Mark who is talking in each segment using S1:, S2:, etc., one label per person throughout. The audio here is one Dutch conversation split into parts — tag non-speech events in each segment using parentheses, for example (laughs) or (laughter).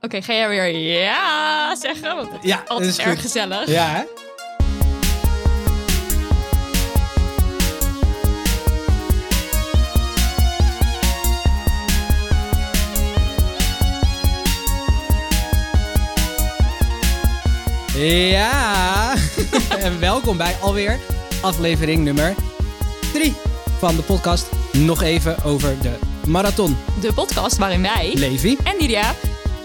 S1: Oké, ga jij weer ja zeggen? Want het is
S2: Ja,
S1: altijd
S2: dat is
S1: erg
S2: goed.
S1: gezellig.
S2: Ja, hè? Ja, (laughs) en welkom bij alweer aflevering nummer 3 van de podcast. Nog even over de marathon.
S1: De podcast waarin wij
S2: Levi,
S1: en Lydia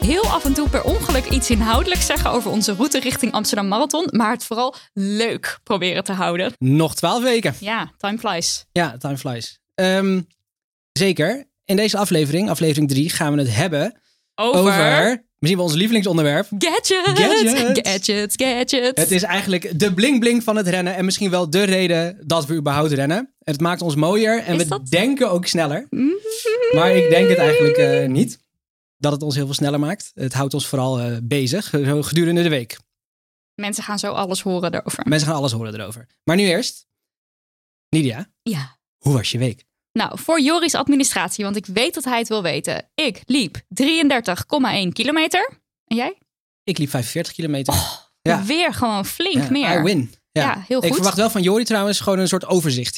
S1: heel af en toe per ongeluk iets inhoudelijks zeggen over onze route richting Amsterdam Marathon. Maar het vooral leuk proberen te houden.
S2: nog 12 weken.
S1: Ja, time flies.
S2: Ja, time flies. Ehm, zeker. In deze aflevering, aflevering 3, gaan we het hebben
S1: Over,
S2: over, misschien wel ons lievelingsonderwerp.
S1: gadgets.
S2: Gadgets.
S1: Gadgets, gadgets.
S2: Het is eigenlijk de bling-bling van het rennen en misschien wel de reden dat we überhaupt rennen. Het maakt ons mooier en
S1: Is
S2: we
S1: dat-
S2: denken ook sneller.
S1: Mhm.
S2: Maar ik denk het eigenlijk eh, niet. Dat het ons heel veel sneller maakt. Het houdt ons vooral eh, bezig zo gedurende de week.
S1: Mensen gaan zo alles horen daarover.
S2: Mensen gaan alles horen erover. Maar nu eerst, Nidia,
S1: Ja.
S2: hoe was je week?
S1: Nou, voor Joris administratie, want ik weet dat hij het wil weten. Ik liep 33,1 kilometer. En jij?
S2: Ik liep 45 kilometer. Ja.
S1: Weer gewoon flink
S2: Ja,
S1: meer.
S2: I win. Ja,
S1: Ja, heel
S2: Ik
S1: goed.
S2: verwacht wel van Jori trouwens gewoon een soort overzicht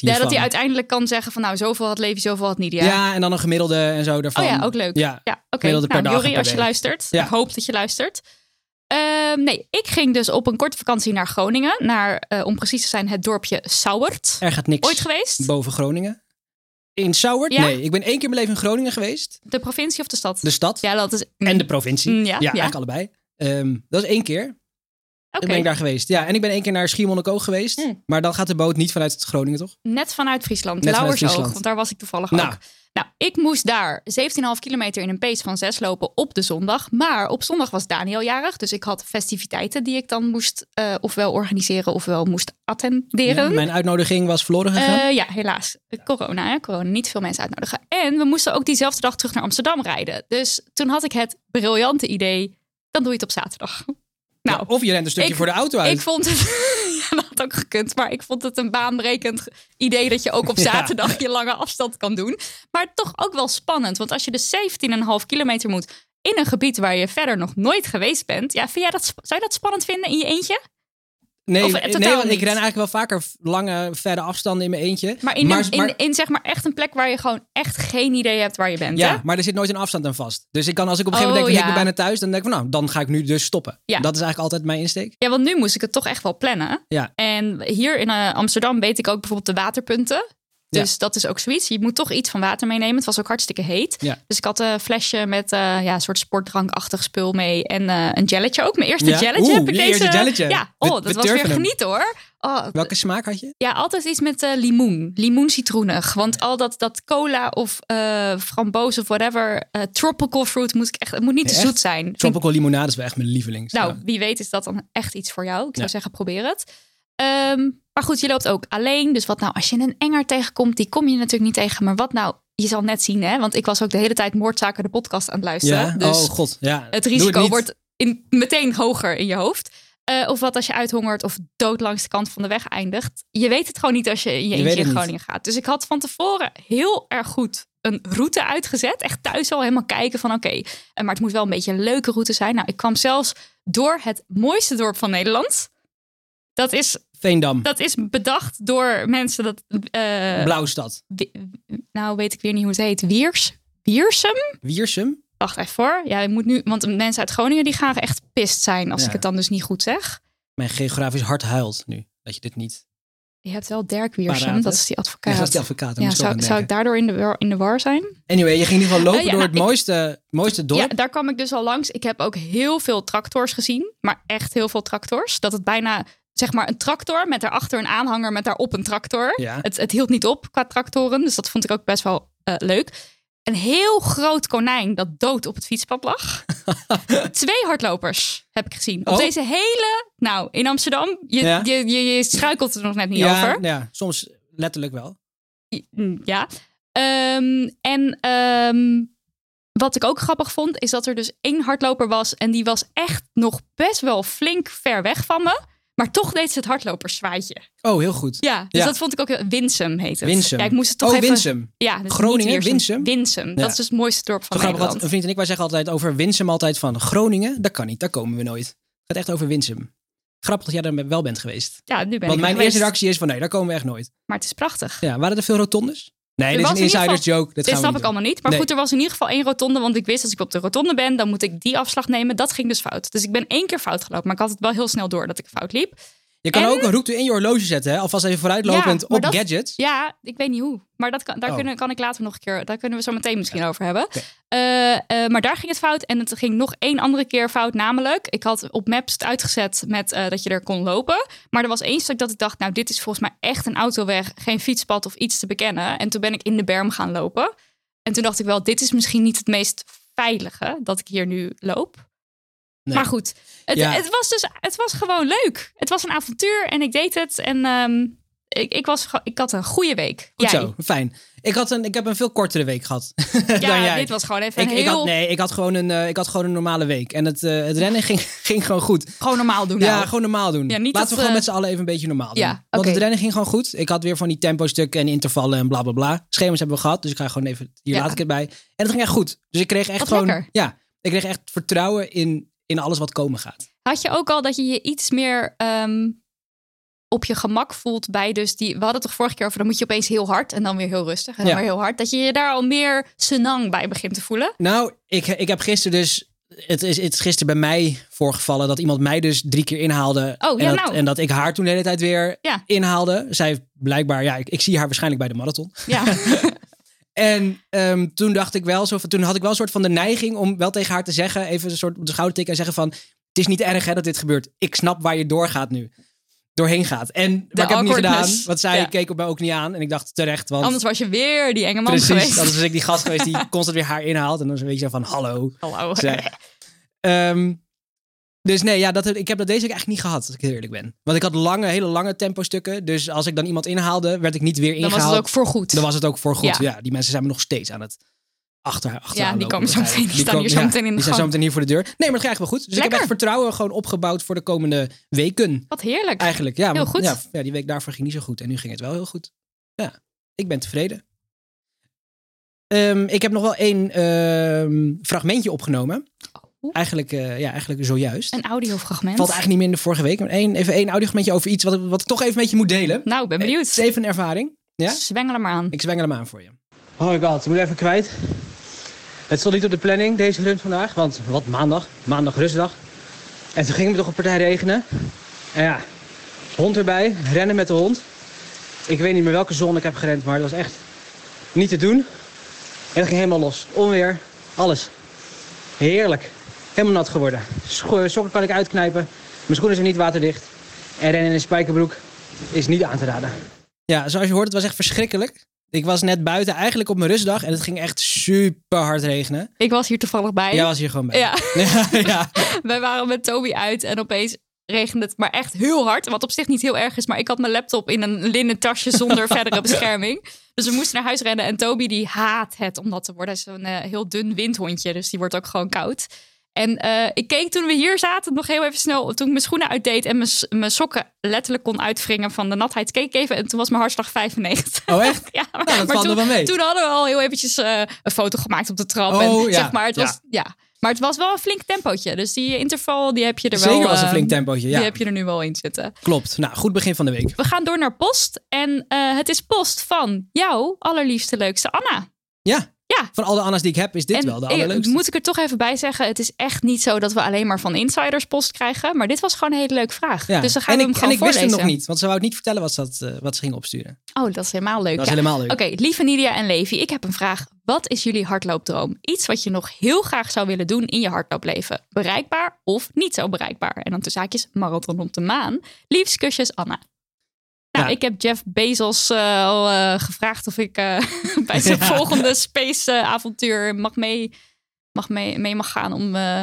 S1: Ja,
S2: hiervan.
S1: dat hij uiteindelijk kan zeggen van nou, zoveel had Levi, zoveel had Nidia.
S2: Ja. en dan een gemiddelde en zo daarvan.
S1: Oh ja, ook leuk.
S2: Ja,
S1: Ja, oké.
S2: Gemiddelde per
S1: Nou,
S2: dag en
S1: Jori,
S2: per
S1: als je
S2: week.
S1: luistert.
S2: Ja.
S1: Ik hoop dat je luistert. Ehm, nee, ik ging dus op een korte vakantie naar Groningen. Naar, eh, om precies te zijn, het dorpje Sauwert.
S2: er gaat niks
S1: Ooit geweest?
S2: boven Groningen. In Sauwert?
S1: Ja.
S2: Nee, ik ben één keer in mijn leven in Groningen geweest.
S1: De provincie of de stad?
S2: De stad
S1: Ja, dat is...
S2: en de provincie.
S1: Mm, ja, ja.
S2: eigenlijk allebei. Ehm, dat is één keer.
S1: Oké,
S2: Dan ben ik daar geweest. Ja, en ik ben één keer naar Schiermonnikoog geweest.
S1: Mm.
S2: Maar dan gaat de boot niet vanuit Groningen, toch?
S1: net vanuit Friesland.
S2: Net vanuit
S1: Lauwersoog,
S2: Friesland.
S1: want daar was ik toevallig ook.
S2: Nou,
S1: Nou, ik moest daar 17,5 kilometer in een pace van 6 lopen op de zondag. Maar op zondag was Daniel jarig. Dus ik had festiviteiten die ik dan moest eh, ofwel organiseren ofwel moest attenderen.
S2: ja,
S1: Eh, Ja,
S2: mijn uitnodiging was verloren
S1: Eh,
S2: gegaan.
S1: helaas. Corona, hè? Corona. Niet veel mensen uitnodigen. En we moesten ook diezelfde dag terug naar Amsterdam rijden. Dus toen had ik het briljante idee, dan doe je het op zaterdag. Nou,
S2: of je rent een stukje
S1: ik-
S2: voor de auto uit.
S1: ik vond het, (laughs) ja, dat had ook gekund, maar ik vond het een baanbrekend idee dat je ook op
S2: (laughs) Ja.
S1: zaterdag je lange afstand kan doen. Maar toch ook wel spannend, want als je dus 17,5 kilometer moet in een gebied waar je verder nog nooit geweest bent. Ja, vind jij dat, sp- zou je dat spannend vinden in je eentje?
S2: nee,
S1: of, eh,
S2: nee,
S1: totaal
S2: want ik
S1: niet.
S2: ren eigenlijk wel vaker lange, verre afstanden in mijn eentje.
S1: Maar in,
S2: Maar-
S1: een, in,
S2: maar-
S1: in zeg maar echt een plek waar je gewoon echt geen idee hebt waar je bent. hè?
S2: Ja, maar er zit nooit een afstand aan vast. Dus ik kan als ik op een gegeven moment
S1: Oh,
S2: denk, ik
S1: ja.
S2: ben bijna thuis, dan denk ik van nou, dan ga ik nu dus stoppen.
S1: Ja.
S2: Dat is eigenlijk altijd mijn insteek.
S1: Ja, want nu moest ik het toch echt wel plannen.
S2: Ja.
S1: En hier in eh, Amsterdam weet ik ook bijvoorbeeld de waterpunten. Dus dat is ook zoiets. Je moet toch iets van water meenemen. Het was ook hartstikke heet.
S2: Ja.
S1: Dus ik had een flesje met eh, ja, een soort sportdrankachtig spul mee. En eh, een jelletje ook. Mijn eerste
S2: Ja?
S1: jelletje
S2: Oeh,
S1: heb ik
S2: je
S1: deze.
S2: eerste jelletje.
S1: Ja,
S2: We-
S1: oh, dat
S2: we
S1: was weer
S2: durven hem.
S1: genieten hoor. Oh,
S2: Welke smaak had je?
S1: ja, altijd iets met eh, limoen. Limoen-citroenig. Want al dat, dat cola of eh framboos of whatever. eh, tropical fruit moet ik echt. Het moet niet te
S2: Echt?
S1: zoet zijn. Vind ik
S2: Tropical limonade is wel echt mijn lievelings.
S1: nou,
S2: Ja.
S1: wie weet is dat dan echt iets voor jou. Ik zou
S2: Ja.
S1: zeggen, probeer het. Ehm, maar goed, je loopt ook alleen. Dus wat nou als je een enger tegenkomt? Die kom je natuurlijk niet tegen. Maar wat nou? Je zal net zien, hè? Want ik was ook de hele tijd moordzaken de podcast aan het luisteren.
S2: ja?
S1: dus
S2: oh god, ja.
S1: het
S2: Doe
S1: risico
S2: niet.
S1: wordt in, meteen hoger in je hoofd. Eh, of wat als je uithongert of dood langs de kant van de weg eindigt. Je weet het gewoon niet als je in je
S2: weet
S1: eentje
S2: het
S1: in
S2: niet.
S1: Groningen gaat. Dus ik had van tevoren heel erg goed een route uitgezet. Echt thuis al helemaal kijken van oké, eh, maar het moet wel een beetje een leuke route zijn. Nou, ik kwam zelfs door het mooiste dorp van Nederland. Dat is,
S2: Veendam,
S1: dat is bedacht door mensen dat... eh,
S2: Blauwstad,
S1: wi- nou, weet ik weer niet hoe het heet. Wiers? Wiersum?
S2: Wiersum.
S1: Wacht even voor. Ja, ik moet nu, want mensen uit Groningen die gaan echt pist zijn als
S2: Ja.
S1: ik het dan dus niet goed zeg.
S2: Mijn geografisch hart huilt nu dat je dit niet.
S1: Je hebt wel Dirk
S2: Paraat,
S1: Wiersum,
S2: hè?
S1: dat is die
S2: Ja,
S1: advocaat.
S2: dat is die advocaat. daar
S1: Ja,
S2: moest ik ook
S1: zou,
S2: aan
S1: zou ik
S2: denken.
S1: daardoor in de, war- in de war zijn?
S2: Anyway, je ging in ieder geval lopen
S1: Eh, ja,
S2: door
S1: nou,
S2: het mooiste, mooiste dorp.
S1: Ja, daar kwam ik dus al langs. Ik heb ook heel veel tractors gezien, maar echt heel veel tractors. Dat het bijna, zeg maar, een tractor met daarachter een aanhanger met daarop een tractor.
S2: Ja.
S1: Het, het hield niet op qua tractoren, dus dat vond ik ook best wel eh, leuk. Een heel groot konijn dat dood op het fietspad
S2: (laughs)
S1: lag. Twee hardlopers heb ik gezien. Op
S2: Oh.
S1: deze hele... Nou, in Amsterdam, je,
S2: Ja.
S1: je, je, je struikelt er nog net niet
S2: ja,
S1: over.
S2: ja, soms letterlijk wel.
S1: Mm, Ja. Ehm, en ehm, wat ik ook grappig vond, is dat er dus één hardloper was. En die was echt nog best wel flink ver weg van me. Maar toch deed ze het hardloperszwaaitje.
S2: Oh, heel goed.
S1: Ja, dus
S2: Ja.
S1: dat vond ik ook... heel- Winsum heet het.
S2: Winsum.
S1: Ja, ik moest het toch
S2: oh,
S1: even...
S2: Winsum.
S1: Ja, dus
S2: Groningen,
S1: niet Heersum.
S2: Winsum?
S1: Winsum,
S2: Ja.
S1: dat is dus het mooiste dorp van
S2: Zo grappig, want
S1: Nederland.
S2: een vriend en ik, wij zeggen altijd over Winsum altijd van Groningen. Dat kan niet, daar komen we nooit. Het gaat echt over Winsum. Grappig dat jij daar wel bent geweest.
S1: Ja, nu ben ik
S2: want
S1: er
S2: mijn
S1: geweest.
S2: eerste reactie is van nee, daar komen we echt nooit.
S1: Maar het is prachtig.
S2: Ja, waren er veel rotondes? Nee, dit is
S1: was
S2: een
S1: in ieder
S2: insiders joke. Dat
S1: Dit
S2: gaan we
S1: snap
S2: niet
S1: ik allemaal niet. Maar
S2: Nee.
S1: goed, er was in ieder geval één rotonde. Want ik wist als ik op de rotonde ben, dan moet ik die afslag nemen. Dat ging dus fout. Dus ik ben één keer fout gelopen. Maar ik had het wel heel snel door dat ik fout liep.
S2: doen. Je kan
S1: En-
S2: ook een route in je horloge zetten, hè? alvast even vooruitlopend
S1: Ja, maar
S2: op
S1: dat-
S2: gadgets.
S1: Ja, ik weet niet hoe. Maar dat kan, daar
S2: Oh.
S1: kunnen, kan ik later nog een keer. Daar kunnen we zo meteen misschien over hebben. Eh, eh, maar daar ging het fout. En het ging nog één andere keer fout. Namelijk, ik had op Maps het uitgezet met eh, dat je er kon lopen. Maar er was één stuk dat ik dacht, nou, dit is volgens mij echt een autoweg, geen fietspad of iets te bekennen. En toen ben ik in de berm gaan lopen. En toen dacht ik wel, dit is misschien niet het meest veilige dat ik hier nu loop.
S2: Nee.
S1: Maar goed, het,
S2: Ja.
S1: het was dus, het was gewoon leuk. Het was een avontuur en ik deed het. En ehm, ik, ik, was, ge- ik had een goede week.
S2: Goed
S1: Jij?
S2: zo, (laughs) fijn. Ik, had een, ik heb een veel kortere week gehad dan
S1: Ja,
S2: jij.
S1: dit was gewoon even
S2: (laughs) ik,
S1: een heel...
S2: ik had, nee, ik had, gewoon een, eh, ik had gewoon een normale week. En het, eh, het rennen ging, (laughs) ging gewoon goed.
S1: Gewoon normaal doen
S2: Ja,
S1: nou.
S2: gewoon normaal doen.
S1: Ja,
S2: Laten
S1: niet
S2: we
S1: dat,
S2: gewoon
S1: eh,
S2: met z'n allen even een beetje normaal doen.
S1: Ja,
S2: Want
S1: oké.
S2: het rennen ging gewoon goed. Ik had weer van die tempo-stukken en intervallen en bla bla bla. Schema's hebben we gehad, dus ik ga gewoon even... Hier
S1: Ja.
S2: laat ik het bij. En het ging echt goed. Dus ik kreeg echt
S1: Wat
S2: gewoon...
S1: lekker.
S2: Ja, ik kreeg echt vertrouwen in, in alles wat komen gaat.
S1: Had je ook al dat je je iets meer ehm, op je gemak voelt bij dus die... We hadden het toch vorige keer over, dan moet je opeens heel hard en dan weer heel rustig en dan
S2: Ja.
S1: weer heel hard. Dat je je daar al meer senang bij begint te voelen.
S2: Nou, ik, ik heb gisteren dus... Het is, het is gisteren bij mij voorgevallen dat iemand mij dus drie keer inhaalde.
S1: Oh, ja,
S2: en, dat,
S1: nou.
S2: en dat ik haar toen de hele tijd weer
S1: Ja.
S2: inhaalde. Zij heeft blijkbaar... Ja, ik, ik zie haar waarschijnlijk bij de marathon.
S1: (laughs) Ja,
S2: En ehm, toen dacht ik wel, zo, van- toen had ik wel een soort van de neiging om wel tegen haar te zeggen, even een soort op de schouder tikken en zeggen van, het is niet erg hè, dat dit gebeurt. Ik snap waar je doorgaat nu. Doorheen gaat. En maar ik heb het niet gedaan,
S1: awkwardness.
S2: want zij
S1: Ja.
S2: keek op mij ook niet aan. En ik dacht terecht, want
S1: anders was je weer die enge man
S2: precies,
S1: geweest.
S2: anders was ik die gast
S1: (laughs)
S2: geweest die constant weer haar inhaalt. En dan is een beetje zo van, hallo.
S1: Hallo.
S2: Zij- Ehm, dus nee, ja, dat, heb- ik heb dat deze week eigenlijk niet gehad, als ik heel eerlijk ben. Want ik had lange, hele lange tempo-stukken. Dus als ik dan iemand inhaalde, werd ik niet weer
S1: Dan
S2: ingehaald.
S1: was het ook voorgoed.
S2: Dan was het ook voor goed. Ja.
S1: Ja.
S2: die mensen zijn me nog steeds aan het achter, achteraan
S1: Ja, die
S2: lopen,
S1: komen zo meteen. Die staan hier zo meteen in de
S2: Die zijn
S1: gang.
S2: zo meteen hier voor de deur. Nee, maar het gaat eigenlijk wel goed. Dus ik heb
S1: Lekker.
S2: echt vertrouwen gewoon opgebouwd voor de komende weken.
S1: Wat heerlijk.
S2: Eigenlijk, ja.
S1: Heel
S2: want-
S1: goed.
S2: Ja, ja, die week daarvoor ging niet zo goed. En nu ging het wel heel goed. Ja, ik ben tevreden. Ehm, ik heb nog wel één ehm, fragmentje opgenomen.
S1: Oeh.
S2: Eigenlijk, eh, ja, eigenlijk zojuist.
S1: Oh. Een audiofragment.
S2: Valt eigenlijk niet meer in de vorige week. Maar één, even één audiofragmentje over iets wat, wat ik toch even met je moet delen.
S1: Nou, ik ben
S2: Het is
S1: benieuwd.
S2: even een ervaring. Eh, Ja?
S1: Zwengel er maar aan.
S2: Ik zwengel hem aan voor je.
S3: Oh my god, ik moet even kwijt. Het stond niet op de planning, deze run vandaag. Want wat maandag? Maandag rustdag. En toen ging het toch een partij regenen. En ja, hond erbij, rennen met de hond. Ik weet niet meer welke zon ik heb gerend, maar dat was echt niet te doen. En dat ging helemaal los. Onweer, alles. Heerlijk. Helemaal nat geworden. Scho- sokken kan ik uitknijpen. Mijn schoenen zijn niet waterdicht. En rennen in een spijkerbroek is niet aan te raden.
S2: Ja, zoals je hoort, het was echt verschrikkelijk. Ik was net buiten eigenlijk op mijn rustdag en het ging echt super hard regenen.
S1: Ik was hier toevallig bij.
S2: Jij was hier gewoon bij.
S1: Ja.
S2: ja, (laughs) ja.
S1: (laughs) Wij waren met Toby uit en opeens regende het maar echt heel hard. Wat op zich niet heel erg is, maar ik had mijn laptop in een linnen tasje zonder verdere bescherming. Dus we moesten naar huis rennen en Toby die haat het om dat te worden. Hij is een eh, heel dun windhondje, dus die wordt ook gewoon koud. En eh, ik keek toen we hier zaten nog heel even snel, toen ik mijn schoenen uitdeed en mijn, s- mijn sokken letterlijk kon uitwringen van de natheid, keek ik even en toen was mijn hartslag 95.
S2: Oh,
S1: (laughs)
S2: echt?
S1: Ja, maar,
S2: dat
S1: maar
S2: valt
S1: toen,
S2: nog wel mee.
S1: toen hadden we al heel eventjes eh, een foto gemaakt op de trap.
S2: Oh,
S1: en,
S2: ja.
S1: zeg maar, het
S2: Ja.
S1: was, ja. maar het was wel een flink tempootje. Dus die interval, die heb je er wel...
S2: Zeker was een
S1: eh,
S2: flink tempootje. Ja,
S1: Die heb je er nu wel in zitten.
S2: klopt. Nou, goed begin van de week.
S1: We gaan door naar post. En eh, het is post van jouw allerliefste, leukste Anna.
S2: Ja.
S1: Ja.
S2: Van al de Anna's die ik heb, is dit
S1: en
S2: wel de
S1: ik-
S2: allerleukste.
S1: moet ik er toch even bij zeggen, het is echt niet zo dat we alleen maar van insiders post krijgen. Maar dit was gewoon een hele leuke vraag.
S2: Ja.
S1: Dus dan gaan
S2: en
S1: we hem
S2: ik,
S1: gewoon
S2: en ik wist
S1: voorlezen.
S2: hem nog niet, want ze wou het niet vertellen wat ze, had, eh, wat ze ging opsturen.
S1: Oh, dat is helemaal leuk.
S2: Dat is
S1: ja.
S2: helemaal leuk.
S1: Oké, lieve Nidia en Levi, ik heb een vraag. Wat is jullie hardloopdroom? Iets wat je nog heel graag zou willen doen in je hardloopleven. Bereikbaar of niet zo bereikbaar? En dan tussen haakjes marathon op de maan. Liefst kusjes, Anna. Nou,
S2: Ja.
S1: ik heb Jeff Bezos eh, al eh, gevraagd of ik eh, (laughs) bij zijn
S2: Ja.
S1: volgende space-avontuur mag mee, mag mee, mee mag gaan om eh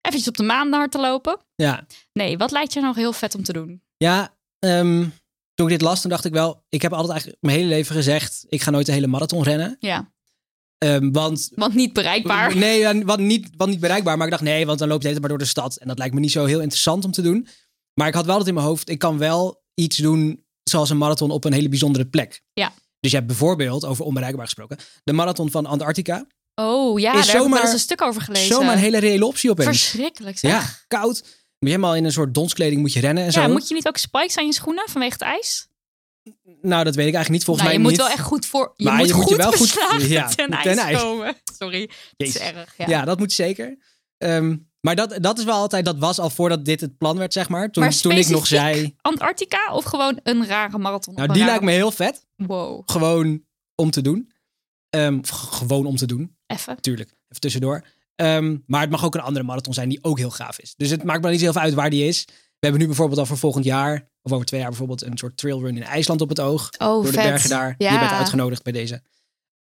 S1: eventjes op de maan hard te lopen.
S2: Ja,
S1: Nee, wat lijkt je nou heel vet om te doen?
S2: ja ehm, toen ik dit las, toen dacht ik wel... Ik heb altijd eigenlijk mijn hele leven gezegd... ik ga nooit de hele marathon rennen.
S1: Ja,
S2: Ehm, want
S1: want niet bereikbaar.
S2: Nee, ja, wat niet, wat niet bereikbaar. Maar ik dacht, nee, want dan loop je het maar door de stad. En dat lijkt me niet zo heel interessant om te doen. Maar ik had wel dat in mijn hoofd. Ik kan wel iets doen zoals een marathon op een hele bijzondere plek.
S1: Ja.
S2: Dus je hebt bijvoorbeeld, over onbereikbaar gesproken, de marathon van Antarctica.
S1: Oh ja, daar heb ik wel
S2: zomaar-
S1: eens een stuk over gelezen.
S2: Zomaar een hele reële optie opeens.
S1: Verschrikkelijk zeg.
S2: Ja, koud. Moet je helemaal in een soort donskleding moet je rennen en zo.
S1: Ja, moet je niet ook spikes aan je schoenen vanwege het ijs?
S2: Nou, dat weet ik eigenlijk niet. Volgens
S1: nou, je
S2: mij
S1: moet
S2: niet.
S1: wel echt goed voor. Je
S2: Maar
S1: moet
S2: je moet
S1: goed
S2: je wel goed-
S1: beslagen
S2: ja,
S1: ten,
S2: ten
S1: ijs
S2: ijs.
S1: komen. Sorry, dat is
S2: Jezus.
S1: erg. Ja.
S2: Ja. dat moet zeker. Ehm, maar dat, dat is wel altijd, dat was al voordat dit het plan werd, zeg maar. Toen,
S1: Maar
S2: toen ik nog
S1: specifiek
S2: zei.
S1: Antarctica of gewoon een rare marathon?
S2: Nou, die lijkt me heel vet.
S1: Wow,
S2: Gewoon om te doen. Ehm, of g- gewoon om te doen,
S1: even.
S2: natuurlijk. Even tussendoor. Ehm, maar het mag ook een andere marathon zijn die ook heel gaaf is. Dus het maakt me niet heel veel uit waar die is. We hebben nu bijvoorbeeld al voor volgend jaar, of over twee jaar bijvoorbeeld, een soort trailrun in IJsland op het oog.
S1: Oh,
S2: door de
S1: vet.
S2: bergen daar.
S1: Ja.
S2: Je bent uitgenodigd bij deze.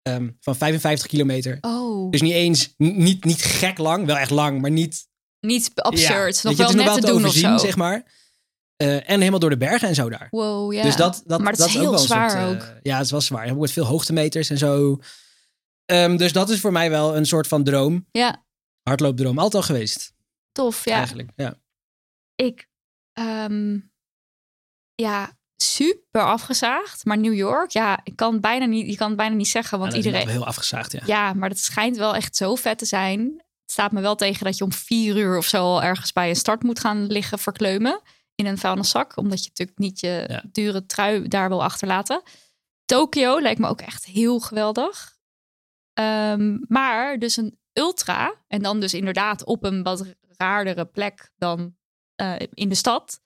S2: Ehm, van 55 kilometer.
S1: Oh,
S2: Dus niet eens, n- niet, niet gek lang, wel echt lang, maar niet
S1: niet
S2: Ja,
S1: absurd.
S2: weet
S1: nog
S2: je,
S1: wel
S2: het is
S1: net te doen of
S2: overzien,
S1: zo.
S2: zeg maar. Eh, en helemaal door de bergen en zo daar.
S1: Wow, ja.
S2: Dus dat, dat,
S1: maar het
S2: dat
S1: is
S2: ook
S1: heel
S2: wel een
S1: zwaar
S2: soort, eh,
S1: ook.
S2: ja, het was zwaar. Je hebt veel hoogtemeters en zo. Ehm, dus dat is voor mij wel een soort van droom.
S1: Ja,
S2: Hardloopdroom. Altijd al geweest,
S1: tof. Ja,
S2: eigenlijk. Ja.
S1: ik. ehm, ja, super afgezaagd. Maar New York, ja, ik kan het bijna niet, je kan het bijna niet zeggen. Want
S2: Ja, dat is
S1: iedereen.
S2: wel heel afgezaagd, ja.
S1: Ja, maar dat schijnt wel echt zo vet te zijn. Het staat me wel tegen dat je om vier uur of zo al ergens bij een start moet gaan liggen verkleumen. In een vuilniszak, omdat je natuurlijk niet je
S2: Ja.
S1: dure trui daar wil achterlaten. Tokio lijkt me ook echt heel geweldig. Ehm, maar dus een ultra, en dan dus inderdaad op een wat raardere plek dan eh, in de stad,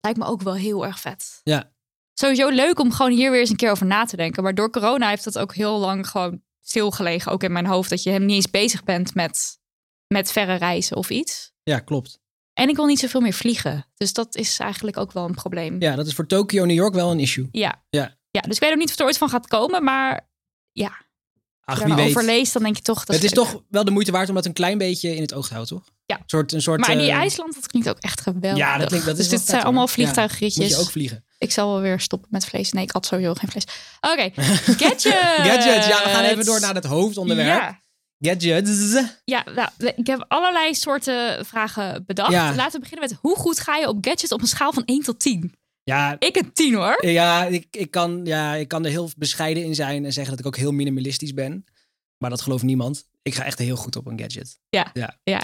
S1: lijkt me ook wel heel erg vet.
S2: Ja.
S1: Sowieso leuk om gewoon hier weer eens een keer over na te denken. Maar door corona heeft dat ook heel lang gewoon stilgelegen, ook in mijn hoofd, dat je hem niet eens bezig bent met, met verre reizen of iets.
S2: Ja, klopt.
S1: En ik wil niet zoveel meer vliegen. Dus dat is eigenlijk ook wel een probleem.
S2: Ja, dat is voor Tokio, New York wel een issue.
S1: Ja.
S2: Ja.
S1: Ja, dus ik weet ook niet of er ooit van gaat komen, maar als
S2: Ach,
S1: je
S2: wie weet.
S1: erover leest, dan denk je toch... Dat
S2: het is
S1: leuk.
S2: toch wel de moeite waard om dat een klein beetje in het oog te houden, toch?
S1: Ja.
S2: Een soort, een soort,
S1: Maar in die
S2: eh,
S1: IJsland, dat klinkt ook echt geweldig.
S2: Ja, dat klinkt- dat
S1: dus
S2: is
S1: dit
S2: wel vet,
S1: zijn
S2: hoor.
S1: allemaal
S2: Ja.
S1: vliegtuigritjes.
S2: moet je ook vliegen.
S1: Ik zal wel weer stoppen met vlees. Nee, ik had sowieso geen vlees. Oké,
S2: (laughs)
S1: gadgets!
S2: Gadgets, ja, we gaan even door naar het hoofdonderwerp.
S1: Eh, Ja,
S2: Gadgets.
S1: ja nou, we- ik heb allerlei soorten vragen bedacht.
S2: Ja.
S1: Laten we beginnen met hoe goed ga je op gadgets op een schaal van 1 tot 10?
S2: Ja,
S1: Ik een 10 hoor.
S2: Ja ik, ik kan, ja, ik kan er heel bescheiden in zijn en zeggen dat ik ook heel minimalistisch ben. Maar dat gelooft niemand. Ik ga echt heel goed op een gadget.
S1: Ja,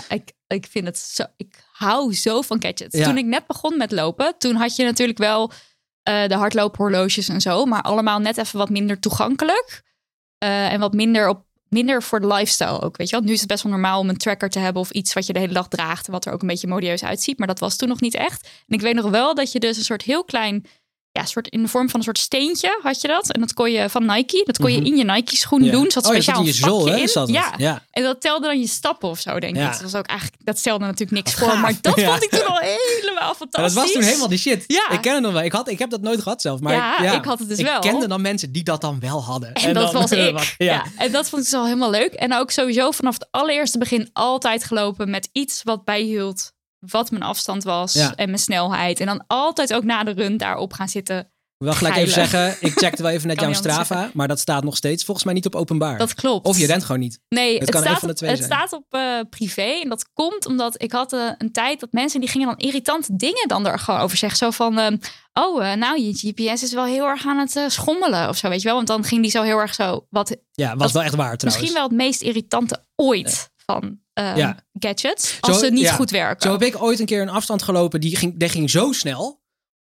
S1: ik, ik vind het zo. Ik hou zo van gadgets.
S2: Ja.
S1: Toen ik net begon met lopen, toen had je natuurlijk wel eh, de hardloophorloges en zo, maar allemaal net even wat minder toegankelijk. Eh, en wat minder, op, minder voor de lifestyle ook. Weet je wel? Nu is het best wel normaal om een tracker te hebben of iets wat je de hele dag draagt. Wat er ook een beetje modieus uitziet. Maar dat was toen nog niet echt. En ik weet nog wel dat je dus een soort heel klein. Ja, soort in de vorm van een soort steentje had je dat. En dat kon je van Nike. Dat kon je
S2: Mhm.
S1: in je Nike schoen doen. Zat
S2: oh,
S1: speciaal
S2: je zat in je
S1: een vakje
S2: zool, hè?
S1: in.
S2: Zat het.
S1: Ja,
S2: ja.
S1: en dat telde dan je stappen of zo, denk ik.
S2: Ja.
S1: Dat, was ook eigenlijk, dat stelde natuurlijk niks
S2: Wat
S1: voor. Maar
S2: gaaf.
S1: dat
S2: Ja.
S1: vond ik toen
S2: (laughs)
S1: al helemaal
S2: Maar
S1: fantastisch.
S2: dat was toen helemaal die shit.
S1: Ja.
S2: Ik ken het nog wel. Ik, had, ik heb dat nooit gehad zelf. Maar
S1: Ja, ik had het dus wel.
S2: Ik kende dan mensen die dat dan wel hadden.
S1: En, dat
S2: dan- (laughs)
S1: was ik. ja.
S2: ja.
S1: En dat vond ik dus al helemaal leuk. En ook sowieso vanaf het allereerste begin altijd gelopen met iets wat bijhield. Wat mijn afstand was
S2: Ja.
S1: en mijn snelheid. En dan altijd ook na de run daarop gaan zitten.
S2: Wel gelijk even
S1: Geilig.
S2: zeggen, ik
S1: (laughs)
S2: checkte wel even net
S1: Kan
S2: jouw
S1: niet anders
S2: Strava. Maar dat staat nog steeds volgens mij niet op openbaar.
S1: Dat klopt.
S2: Of je rent gewoon niet.
S1: Nee, het,
S2: kan een
S1: staat,
S2: van de
S1: op,
S2: twee
S1: het
S2: zijn.
S1: staat op eh, privé. En dat komt omdat ik had eh, een tijd dat mensen die gingen dan irritante dingen dan er gewoon over zeggen. Zo van, ehm, oh, eh, nou, je GPS is wel heel erg aan het eh, schommelen of zo, weet je wel. Want dan ging die zo heel erg zo, wat
S2: Ja, was
S1: Dat-
S2: wel echt waar trouwens.
S1: misschien wel het meest irritante ooit van ehm,
S2: Ja.
S1: gadgets. Als
S2: Zo-
S1: ze niet
S2: ja.
S1: goed werken.
S2: Zo heb ik ooit een keer een afstand gelopen, die ging, die ging zo snel.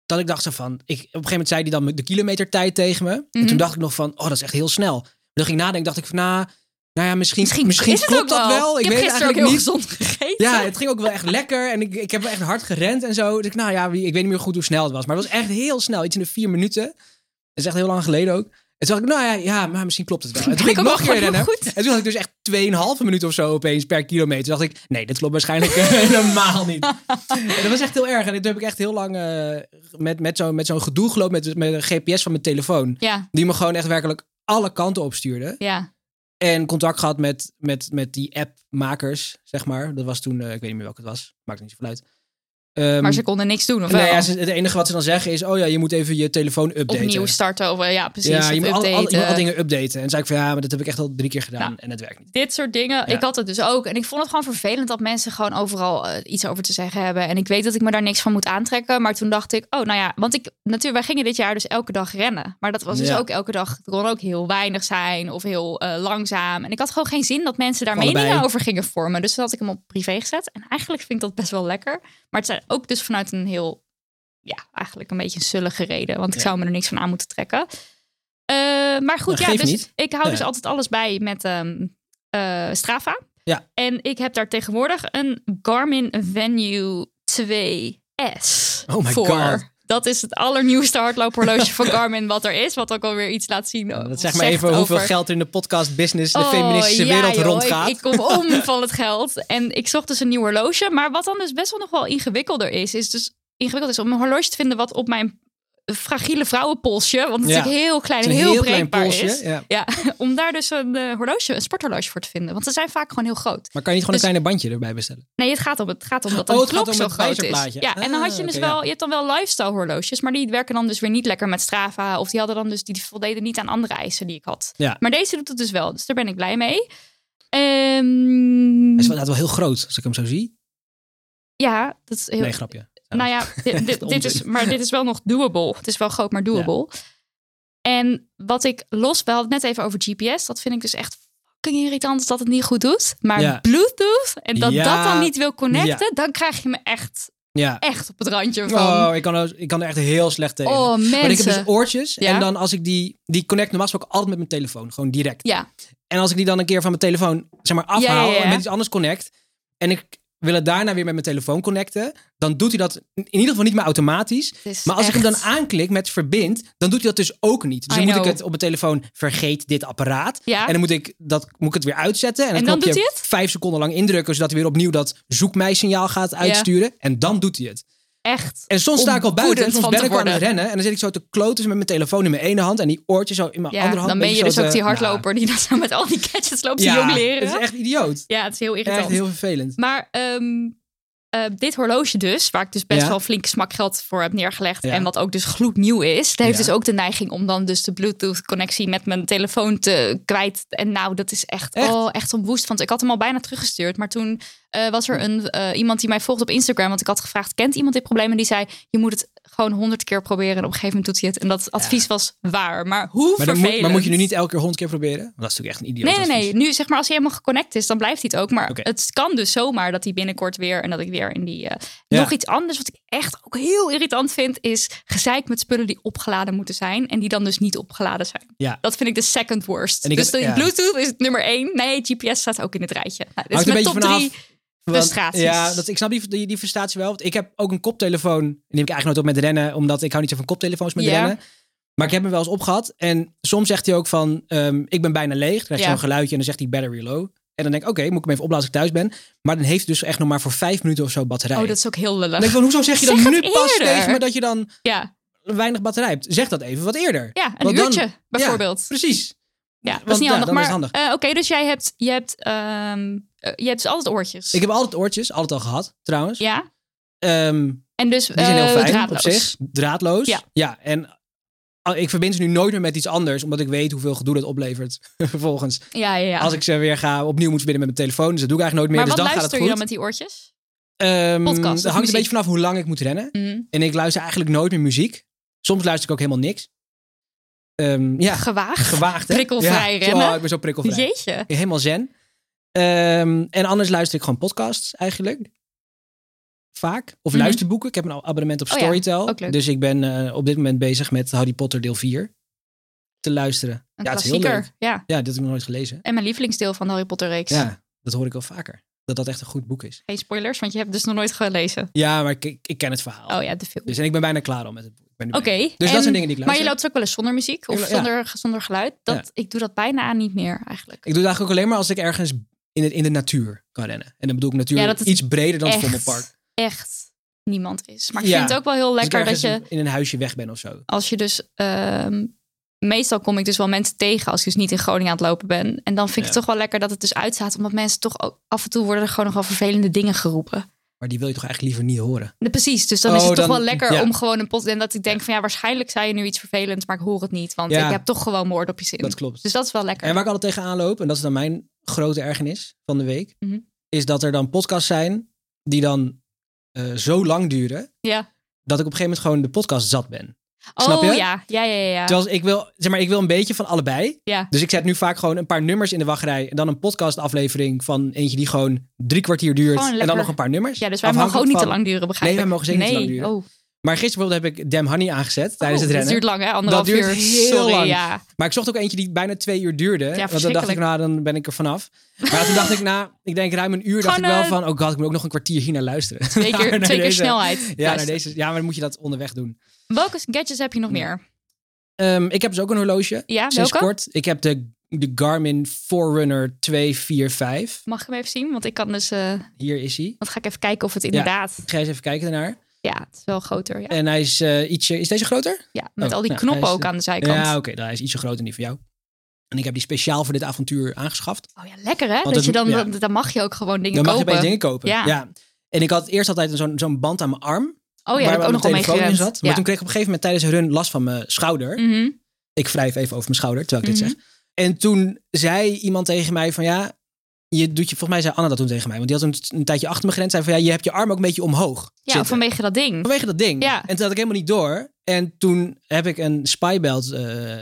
S2: Dat ik dacht zo van, ik, op een gegeven moment zei die dan de kilometertijd tegen me. En
S1: Mhm.
S2: toen dacht ik nog van, oh dat is echt heel snel. Toen ging ik nadenken, dacht ik van, nou, nou ja, misschien,
S1: Misschien,
S2: misschien,
S1: is het
S2: klopt
S1: ook
S2: dat wel.
S1: Ik,
S2: Ik,
S1: heb
S2: weet het
S1: gisteren ook
S2: eigenlijk
S1: heel
S2: niet.
S1: gezond gegeten.
S2: Ja, het ging ook wel echt lekker en ik, ik heb echt hard gerend en zo. Dus ik, nou ja, wie- ik weet niet meer goed hoe snel het was. Maar het was echt heel snel, iets in de vier minuten. Dat is echt heel lang geleden ook. En toen dacht ik, nou ja, ja maar misschien klopt het wel. En toen
S1: Ben (laughs)
S2: ging
S1: ik
S2: ik
S1: ook
S2: nog
S1: wel
S2: een keer
S1: gewoon heel
S2: rennen.
S1: goed.
S2: En toen had ik dus echt 2,5 minuut of zo opeens per kilometer. Toen dacht ik, nee, dit klopt waarschijnlijk eh, (laughs) helemaal niet. En dat was echt heel erg. En toen heb ik echt heel lang eh, met, met zo'n met zo'n gedoe gelopen met, met een GPS van mijn telefoon.
S1: ja,
S2: Die me gewoon echt werkelijk alle kanten opstuurde.
S1: ja.
S2: En contact gehad met, met, met die appmakers, zeg maar. Dat was toen, eh, ik weet niet meer welke het was. Maakt niet zoveel uit. Ehm,
S1: maar ze konden niks doen, of
S2: nou
S1: wel?
S2: ja, ze- het enige wat ze dan zeggen is, oh ja, je moet even je telefoon updaten.
S1: Opnieuw starten, of eh, ja, precies.
S2: ja,
S1: of
S2: je moet, al, al- je moet
S1: updaten. Nou.
S2: al dingen updaten. En toen zei ik van, ja, maar dat heb ik echt al drie keer gedaan
S1: Ja.
S2: en het werkt niet.
S1: dit soort dingen.
S2: Ja.
S1: Ik had het dus ook. En ik vond het gewoon vervelend dat mensen gewoon overal eh, iets over te zeggen hebben. En ik weet dat ik me daar niks van moet aantrekken. Maar toen dacht ik, oh nou ja, want ik natuurlijk, wij gingen dit jaar dus elke dag rennen. Maar dat was dus
S2: Ja.
S1: ook elke dag. Het kon ook heel weinig zijn of heel eh, langzaam. En ik had gewoon geen zin dat mensen daar
S2: Van
S1: meningen
S2: allebei.
S1: over gingen vormen. Dus toen had ik hem op privé gezet. En eigenlijk vind ik dat best wel lekker. Maar het zijn ook dus vanuit een heel, ja, eigenlijk een beetje een zullige reden. Want ik
S2: Ja.
S1: zou me er niks van aan moeten trekken. Eh, maar goed,
S2: Nou,
S1: ja,
S2: geeft
S1: dus
S2: niet.
S1: ik hou
S2: Ja.
S1: dus altijd alles bij met ehm, eh, Strava.
S2: Ja.
S1: En ik heb daar tegenwoordig een Garmin Venue 2S
S2: Oh my
S1: voor.
S2: God.
S1: Dat is het allernieuwste
S2: (laughs)
S1: hardloophorloge van Garmin wat er is. Wat ook alweer iets laat zien. eh,
S2: dat zeg
S1: zegt
S2: maar even hoeveel
S1: over-
S2: geld er in de podcast business, de
S1: Oh,
S2: feministische
S1: ja,
S2: wereld
S1: joh,
S2: rondgaat.
S1: Ik, ik kom om
S2: (laughs)
S1: van het geld. En ik zocht dus een nieuw horloge. Maar wat dan dus best wel nog wel ingewikkelder is, is dus ingewikkeld is om een horloge te vinden wat op mijn fragiele vrouwenpolsje, want het is
S2: Ja.
S1: natuurlijk heel klein en
S2: Het is
S1: heel,
S2: een heel klein
S1: breekbaar is.
S2: polsje, ja.
S1: (laughs) om daar dus een eh, horloge, een sporthorloge voor te vinden. Want ze zijn vaak gewoon heel groot.
S2: Maar kan je niet gewoon
S1: Dus-
S2: een kleine bandje erbij bestellen?
S1: Nee, het gaat om, het gaat om dat dan
S2: Oh,
S1: de
S2: het gaat
S1: klok
S2: om
S1: zo
S2: het
S1: groot is.
S2: wijzerplaatje.
S1: Ja, en dan
S2: Ah,
S1: had je dus
S2: oké,
S1: wel, je hebt dan wel lifestyle horloges, maar die werken dan dus weer niet lekker met Strava. Of die hadden dan dus, die voldeden niet aan andere eisen die ik had.
S2: Ja.
S1: Maar deze doet het dus wel, dus daar ben ik blij mee. Ehm,
S2: Hij is wel, inderdaad wel heel groot, als ik hem zo zie.
S1: ja, dat is heel,
S2: Nee, grapje.
S1: nou
S2: (laughs)
S1: ja, dit, dit, dit is,
S2: onzin.
S1: maar dit is wel nog doable. Het is wel groot, maar doable. En wat ik los, we hadden het net even over GPS. Dat vind ik dus echt fucking irritant dat het niet goed doet. Maar
S2: Ja.
S1: Bluetooth, en dat
S2: Ja.
S1: dat dan niet wil connecten, dan krijg je me echt,
S2: Ja.
S1: echt op het randje van...
S2: Oh, ik kan, er- ik kan er echt heel slecht tegen.
S1: Oh,
S2: Maar ik heb
S1: mensen.
S2: dus oortjes.
S1: Ja.
S2: En dan als ik die... Die connect normaal gesproken altijd met mijn telefoon. Gewoon direct.
S1: Ja,
S2: En als ik die dan een keer van mijn telefoon zeg maar, afhaal
S1: Ja, ja, ja.
S2: en met iets anders connect. En ik wil het daarna weer met mijn telefoon connecten. Dan doet hij dat in ieder geval niet meer automatisch.
S1: het is
S2: Maar als ik hem
S1: echt-
S2: dan aanklik met verbind, dan doet hij dat dus ook niet. Dus dan
S1: I
S2: moet
S1: know.
S2: ik het op mijn telefoon vergeet dit apparaat.
S1: Ja,
S2: En dan moet ik, dat, moet ik het weer uitzetten. En,
S1: En
S2: het
S1: dan
S2: knopje
S1: doet hij het?
S2: vijf seconden lang indrukken, zodat hij weer opnieuw dat zoek mij signaal gaat uitsturen. En dan doet hij het.
S1: echt.
S2: En soms sta ik al
S1: Om
S2: buiten en
S1: woedend
S2: soms
S1: van
S2: ben
S1: te
S2: ik al aan het
S1: worden.
S2: rennen. En dan zit ik zo te kloten met mijn telefoon in mijn ene hand en die oortje zo in mijn andere
S1: Ja,
S2: hand.
S1: dan ben
S2: Beetje
S1: je dus
S2: zo
S1: ook
S2: te-
S1: die
S2: Nou,
S1: hardloper die dan zo met al die gadgets loopt te
S2: ja,
S1: jongleren.
S2: het is echt idioot.
S1: Ja, het is heel irritant.
S2: Echt heel vervelend.
S1: Maar ehm, eh, dit horloge dus, waar ik dus best
S2: Ja.
S1: wel flink smak geld voor heb neergelegd.
S2: Ja.
S1: En wat ook dus gloednieuw is. Dat heeft
S2: Ja.
S1: dus ook de neiging om dan dus de Bluetooth connectie met mijn telefoon te kwijt. En nou, dat is echt,
S2: Echt?
S1: Oh, echt ontwoest. Want ik had hem al bijna teruggestuurd. Maar toen eh, was
S2: Hm.
S1: er een, eh, iemand die mij volgt op Instagram. Want ik had gevraagd, kent iemand dit probleem? En die zei, je moet het gewoon honderd keer proberen. En op een gegeven moment doet hij het. En dat advies was waar. Maar hoe
S2: Maar, dan
S1: vervelend.
S2: moet, maar moet je nu niet elke keer honderd keer proberen? Want dat is natuurlijk echt een idioot.
S1: Nee, nee, nee.
S2: advies.
S1: Nu zeg maar als hij helemaal geconnect is, dan blijft hij het ook. Maar
S2: Oké.
S1: het kan dus zomaar dat hij binnenkort weer en dat ik weer in die. eh,
S2: Ja.
S1: Nog iets anders wat ik echt ook heel irritant vind, is gezeik met spullen die opgeladen moeten zijn en die dan dus niet opgeladen zijn.
S2: Ja.
S1: Dat vind ik de second worst.
S2: En ik
S1: dus
S2: heb-
S1: de
S2: ja.
S1: Bluetooth is het nummer één. Nee, GPS staat ook in het rijtje. Nou, dit is
S2: Hangt een
S1: mijn
S2: beetje
S1: top
S2: vanaf
S1: drie.
S2: Want-
S1: frustraties.
S2: Ja, dat, ik snap die, die, die frustratie wel. Want ik heb ook een koptelefoon. Die neem ik eigenlijk nooit op met rennen, omdat ik hou niet zo van koptelefoons met
S1: Ja.
S2: rennen. Maar ik heb hem wel eens opgehad. En soms zegt hij ook van, ehm, ik ben bijna leeg. Dan krijg je
S1: Ja.
S2: zo'n geluidje en dan zegt hij battery low. En dan denk ik, oké, moet ik hem even opladen als ik thuis ben. Maar dan heeft hij dus echt nog maar voor vijf minuten of zo batterij.
S1: Oh, dat is ook heel lullig.
S2: Dan denk ik van, hoezo zeg je dan
S1: Zeg
S2: nu
S1: het
S2: pas
S1: eerder.
S2: tegen me dat je dan
S1: Ja,
S2: weinig batterij hebt? Zeg dat even wat eerder.
S1: ja een
S2: Want dan-
S1: uurtje bijvoorbeeld.
S2: Precies.
S1: Ja, dat is
S2: Want
S1: niet
S2: ja,
S1: handig.
S2: dan
S1: maar
S2: is het
S1: eh, oké, dus jij hebt, je hebt, ehm, eh, je hebt dus altijd oortjes.
S2: Ik heb altijd oortjes, altijd al gehad trouwens.
S1: Ja,
S2: Ehm,
S1: en dus
S2: Die zijn heel
S1: eh,
S2: fijn
S1: draadloos.
S2: op zich. Draadloos.
S1: Ja.
S2: Ja. en al- ik verbind ze nu nooit meer met iets anders, omdat ik weet hoeveel gedoe dat oplevert (laughs) vervolgens.
S1: Ja, ja, ja.
S2: Als ik ze weer ga opnieuw moet verbinden met mijn telefoon, dus dat doe ik eigenlijk nooit
S1: maar
S2: meer.
S1: wat
S2: dus dan gaat
S1: luister
S2: het
S1: je
S2: goed.
S1: dan met die oortjes?
S2: Ehm,
S1: Podcast of
S2: dat hangt
S1: muziek?
S2: een beetje vanaf hoe lang ik moet rennen.
S1: Mm.
S2: En ik luister eigenlijk nooit meer muziek. Soms luister ik ook helemaal niks. Ehm, ja, (laughs)
S1: Gewaagd.
S2: gewaagd. hè?
S1: Prikkelvrij
S2: Ja.
S1: rennen.
S2: Oh, ik ben zo prikkelvrij.
S1: Jeetje.
S2: Helemaal zen. Ehm, en anders luister ik gewoon podcasts eigenlijk. Vaak. Of
S1: Mhm.
S2: luisterboeken. Ik heb een abonnement op
S1: Oh ja,
S2: Storytel.
S1: ook leuk.
S2: Dus ik ben eh, op dit moment bezig met Harry Potter deel 4 te luisteren.
S1: Een
S2: ja, het is heel leuk.
S1: klassieker. Ja.
S2: Ja, dit heb ik nog nooit gelezen.
S1: En mijn lievelingsdeel van de Harry Potter reeks.
S2: Ja, dat hoor ik wel vaker. Dat dat echt een goed boek is.
S1: Geen spoilers, want je hebt het dus nog nooit gelezen.
S2: Ja, maar ik, ik ken het verhaal.
S1: Oh ja, de film.
S2: Dus en ik ben bijna klaar al met het boek. Ik ben nu
S1: Oké.
S2: bijna- Dus
S1: en-
S2: dat zijn dingen die ik luister.
S1: Maar je loopt ook wel eens zonder muziek of
S2: Ik- ja.
S1: zonder, zonder geluid. Dat, Ik doe dat bijna niet meer eigenlijk.
S2: Ik doe het eigenlijk ook alleen maar als ik ergens in de, in de natuur kan rennen. En dan bedoel ik natuurlijk
S1: Ja, dat het
S2: iets breder dan het
S1: echt
S2: Vondelpark. Als
S1: Echt niemand is. Maar ik
S2: Ja. Dus
S1: vind het ook wel heel
S2: ik
S1: lekker dat
S2: ergens
S1: je,
S2: in een huisje weg ben of zo.
S1: als je dus... ehm, meestal kom ik dus wel mensen tegen als ik dus niet in Groningen aan het lopen ben. En dan vind ik
S2: Ja.
S1: het toch wel lekker dat het dus uitstaat. Omdat mensen toch ook af en toe worden er gewoon nogal vervelende dingen geroepen.
S2: Maar die wil je toch eigenlijk liever niet horen.
S1: Nee, Precies, dus dan is
S2: Oh,
S1: het toch
S2: dan-
S1: wel lekker
S2: ja.
S1: om gewoon een pot. En dat ik denk van ja, waarschijnlijk zei je nu iets vervelends, maar ik hoor het niet. Want
S2: Ja.
S1: ik heb toch gewoon moord op je zin.
S2: Dat klopt.
S1: Dus dat is wel lekker.
S2: En waar ik altijd tegenaan loop, en dat is dan mijn grote ergernis van de week,
S1: Mhm.
S2: is dat er dan podcasts zijn die dan eh, zo lang duren,
S1: Ja.
S2: dat ik op een gegeven moment gewoon de podcast zat ben. snap
S1: oh
S2: je?
S1: ja, ja, ja, ja. ja.
S2: Terwijl ik wil, zeg maar, ik wil een beetje van allebei.
S1: Ja.
S2: Dus ik zet nu vaak gewoon een paar nummers in de wachtrij en dan een podcastaflevering van eentje die gewoon drie kwartier duurt
S1: Gewoon
S2: en dan
S1: lekker.
S2: nog een paar nummers.
S1: Ja, dus wij mogen ook
S2: Afhankelijk
S1: niet te
S2: van-
S1: lang duren, begrijp
S2: Nee, wij
S1: ik.
S2: mogen zeker niet te
S1: Nee,
S2: lang duren.
S1: Oh.
S2: Maar gisteren bijvoorbeeld heb ik Damn Honey aangezet tijdens
S1: Oh,
S2: het
S1: Dat
S2: rennen.
S1: duurt lang, hè? Anderhalf
S2: Dat duurt
S1: uur.
S2: heel
S1: Sorry,
S2: lang.
S1: ja.
S2: Maar ik zocht ook eentje die bijna twee uur duurde. want dan dacht ik,
S1: verschrikkelijk.
S2: nou, dan ben ik er vanaf. Maar toen dacht ik, na, ik denk ruim een uur, dacht ik
S1: Gewoon,
S2: wel
S1: eh,
S2: van, oh god, ik moet ook nog een kwartier hiernaar luisteren. (laughs)
S1: Twee keer,
S2: Naar
S1: twee keer
S2: deze-
S1: snelheid.
S2: Ja, naar
S1: Luister.
S2: deze, ja, maar dan moet je dat onderweg doen.
S1: Welke gadgets heb je nog meer?
S2: Ehm, ik heb dus ook een horloge,
S1: Ja,
S2: sinds
S1: welke?
S2: kort. Ik heb de, de Garmin Forerunner 245.
S1: Mag ik hem even zien? Want ik kan dus... eh
S2: Hier is hij.
S1: want ga ik even kijken of het inderdaad...
S2: Ik ga eens even kijken daarnaets.
S1: Ja, het is wel groter. Ja,
S2: En hij is eh, ietsje, is deze groter?
S1: ja met
S2: Oh,
S1: al die
S2: nou,
S1: knoppen
S2: hij is,
S1: ook
S2: eh,
S1: aan de zijkant.
S2: Ja, oké, dan hij is ietsje groter dan die van jou. En ik heb die speciaal voor dit avontuur aangeschaft.
S1: Oh ja, lekker hè?
S2: Want
S1: dat
S2: het-
S1: je dan,
S2: ja.
S1: dan, dan mag je ook gewoon dingen
S2: Dan mag je
S1: kopen.
S2: opeens dingen kopen.
S1: Ja.
S2: En ik had eerst altijd zo'n zo'n band aan mijn arm.
S1: Oh ja,
S2: waar
S1: heb ik ook
S2: mijn
S1: nog wel
S2: telefoon in
S1: meegerend.
S2: zat. Maar
S1: Ja.
S2: toen kreeg ik op een gegeven moment tijdens een run last van mijn schouder.
S1: Mhm.
S2: Ik wrijf even over mijn schouder, terwijl ik
S1: Mhm.
S2: dit zeg. En toen zei iemand tegen mij van ja, je doet je, volgens mij zei Anna dat toen tegen mij. Want die had een, een tijdje achter me gerend. Zei van ja, je hebt je arm ook een beetje omhoog
S1: Ja,
S2: zitten. Oh,
S1: vanwege dat ding.
S2: Vanwege dat ding.
S1: Ja.
S2: En toen had ik helemaal niet door. En toen heb ik een spybelt eh,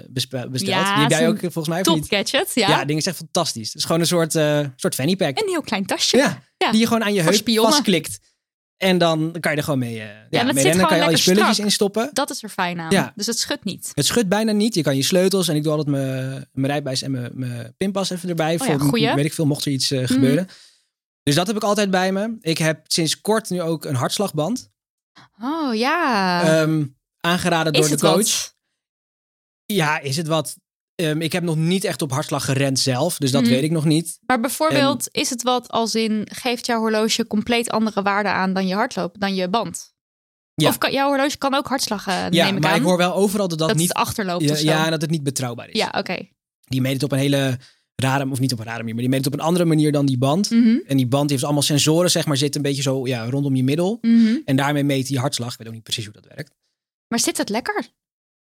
S2: bespe- besteld.
S1: Ja,
S2: die heb
S1: het is
S2: jij
S1: een
S2: ook volgens mij of
S1: Top
S2: niet?
S1: gadget, ja.
S2: Ja, het ding is echt fantastisch. Het is gewoon een soort, eh, soort fanny pack.
S1: Een heel klein tasje. Ja,
S2: Ja, die je gewoon aan je
S1: Voor
S2: heup
S1: spionnen.
S2: vastklikt. En dan kan je er gewoon mee, eh ja,
S1: dat zit
S2: mee rennen. Dan kan je
S1: gewoon
S2: al je
S1: lekker
S2: spulletjes
S1: strak.
S2: in stoppen.
S1: Dat is er fijn aan.
S2: Ja.
S1: Dus het schudt niet.
S2: Het schudt bijna niet. Je kan je sleutels en ik doe altijd mijn, mijn rijbewijs en mijn, mijn pinpas even erbij.
S1: Oh ja,
S2: voor
S1: goeie. Mhm.
S2: weet ik veel, mocht er iets eh, gebeuren. Dus dat heb ik altijd bij me. Ik heb sinds kort nu ook een hartslagband.
S1: Oh ja.
S2: Ehm, aangeraden door
S1: is
S2: de
S1: het
S2: coach.
S1: wat?
S2: Ja, is het wat? Ehm, ik heb nog niet echt op hartslag gerend zelf, dus dat
S1: Mhm.
S2: weet ik nog niet.
S1: Maar bijvoorbeeld, is het wat als in geeft jouw horloge compleet andere waarde aan dan je hardloop, dan je band?
S2: Ja.
S1: Of kan, jouw horloge kan ook hartslag, eh,
S2: ja,
S1: neem ik
S2: maar
S1: aan.
S2: ik hoor wel overal dat dat,
S1: dat
S2: niet.
S1: het achterloopt
S2: Ja,
S1: of zo.
S2: ja, dat het niet betrouwbaar is.
S1: Ja, oké.
S2: Die meet het op een hele rare, of niet op een rare manier, maar die meet het op een andere manier dan die band.
S1: Mhm,
S2: En die band heeft allemaal sensoren, zeg maar, zit een beetje zo ja, rondom je middel.
S1: mhm.
S2: En daarmee meet hij je hartslag. Ik weet ook niet precies hoe dat werkt.
S1: Maar zit het lekker?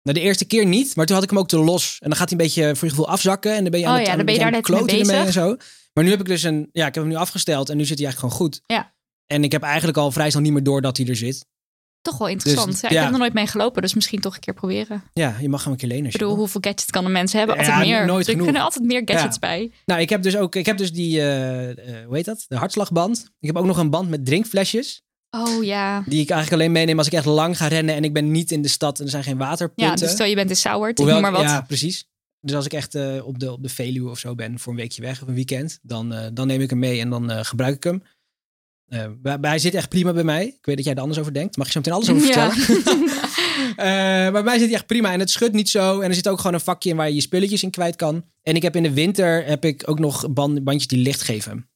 S2: Nou, de eerste keer niet, maar toen had ik hem ook te los. En dan gaat hij een beetje voor je gevoel afzakken. En dan ben je aan
S1: Oh
S2: het,
S1: ja,
S2: aan
S1: dan ben je
S2: het-
S1: daar
S2: aan het
S1: net mee
S2: kloten ermee en zo. Maar nu heb ik dus een, ja, ik heb hem nu afgesteld en nu zit hij eigenlijk gewoon goed.
S1: Ja.
S2: En ik heb eigenlijk al vrij snel niet meer door dat hij er zit.
S1: Toch wel interessant. ja, ik
S2: Dus ja.
S1: heb er nooit mee gelopen, dus misschien toch een keer proberen.
S2: Ja, je mag hem een keer lenen.
S1: Ik
S2: als je
S1: bedoel,
S2: wil.
S1: hoeveel gadgets kan een mens hebben?
S2: Ja,
S1: Altijd meer. Dus
S2: nooit
S1: er
S2: genoeg.
S1: kunnen altijd meer gadgets
S2: Ja.
S1: bij.
S2: Nou, ik heb dus ook, ik heb dus die, eh, eh, hoe heet dat? De hartslagband. Ik heb ook nog een band met drinkflesjes.
S1: Oh ja.
S2: Die ik eigenlijk alleen meeneem als ik echt lang ga rennen en ik ben niet in de stad en er zijn geen waterpunten.
S1: Ja, dus stel je bent in Sauwert, ik
S2: Hoewel
S1: noem maar wat. (laughs)
S2: Ja, precies. Dus als ik echt eh, op, de, op de Veluwe of zo ben voor een weekje weg of een weekend, dan, eh, dan neem ik hem mee en dan eh, gebruik ik hem. Eh, maar- maar hij zit echt prima bij mij. Ik weet dat jij er anders over denkt. Mag je zo meteen alles over
S1: Ja.
S2: vertellen? Eh, maar bij mij zit hij echt prima. En het schudt niet zo. En er zit ook gewoon een vakje in waar je je spulletjes in kwijt kan. En ik heb in de winter heb ik ook nog ban- bandjes die licht geven.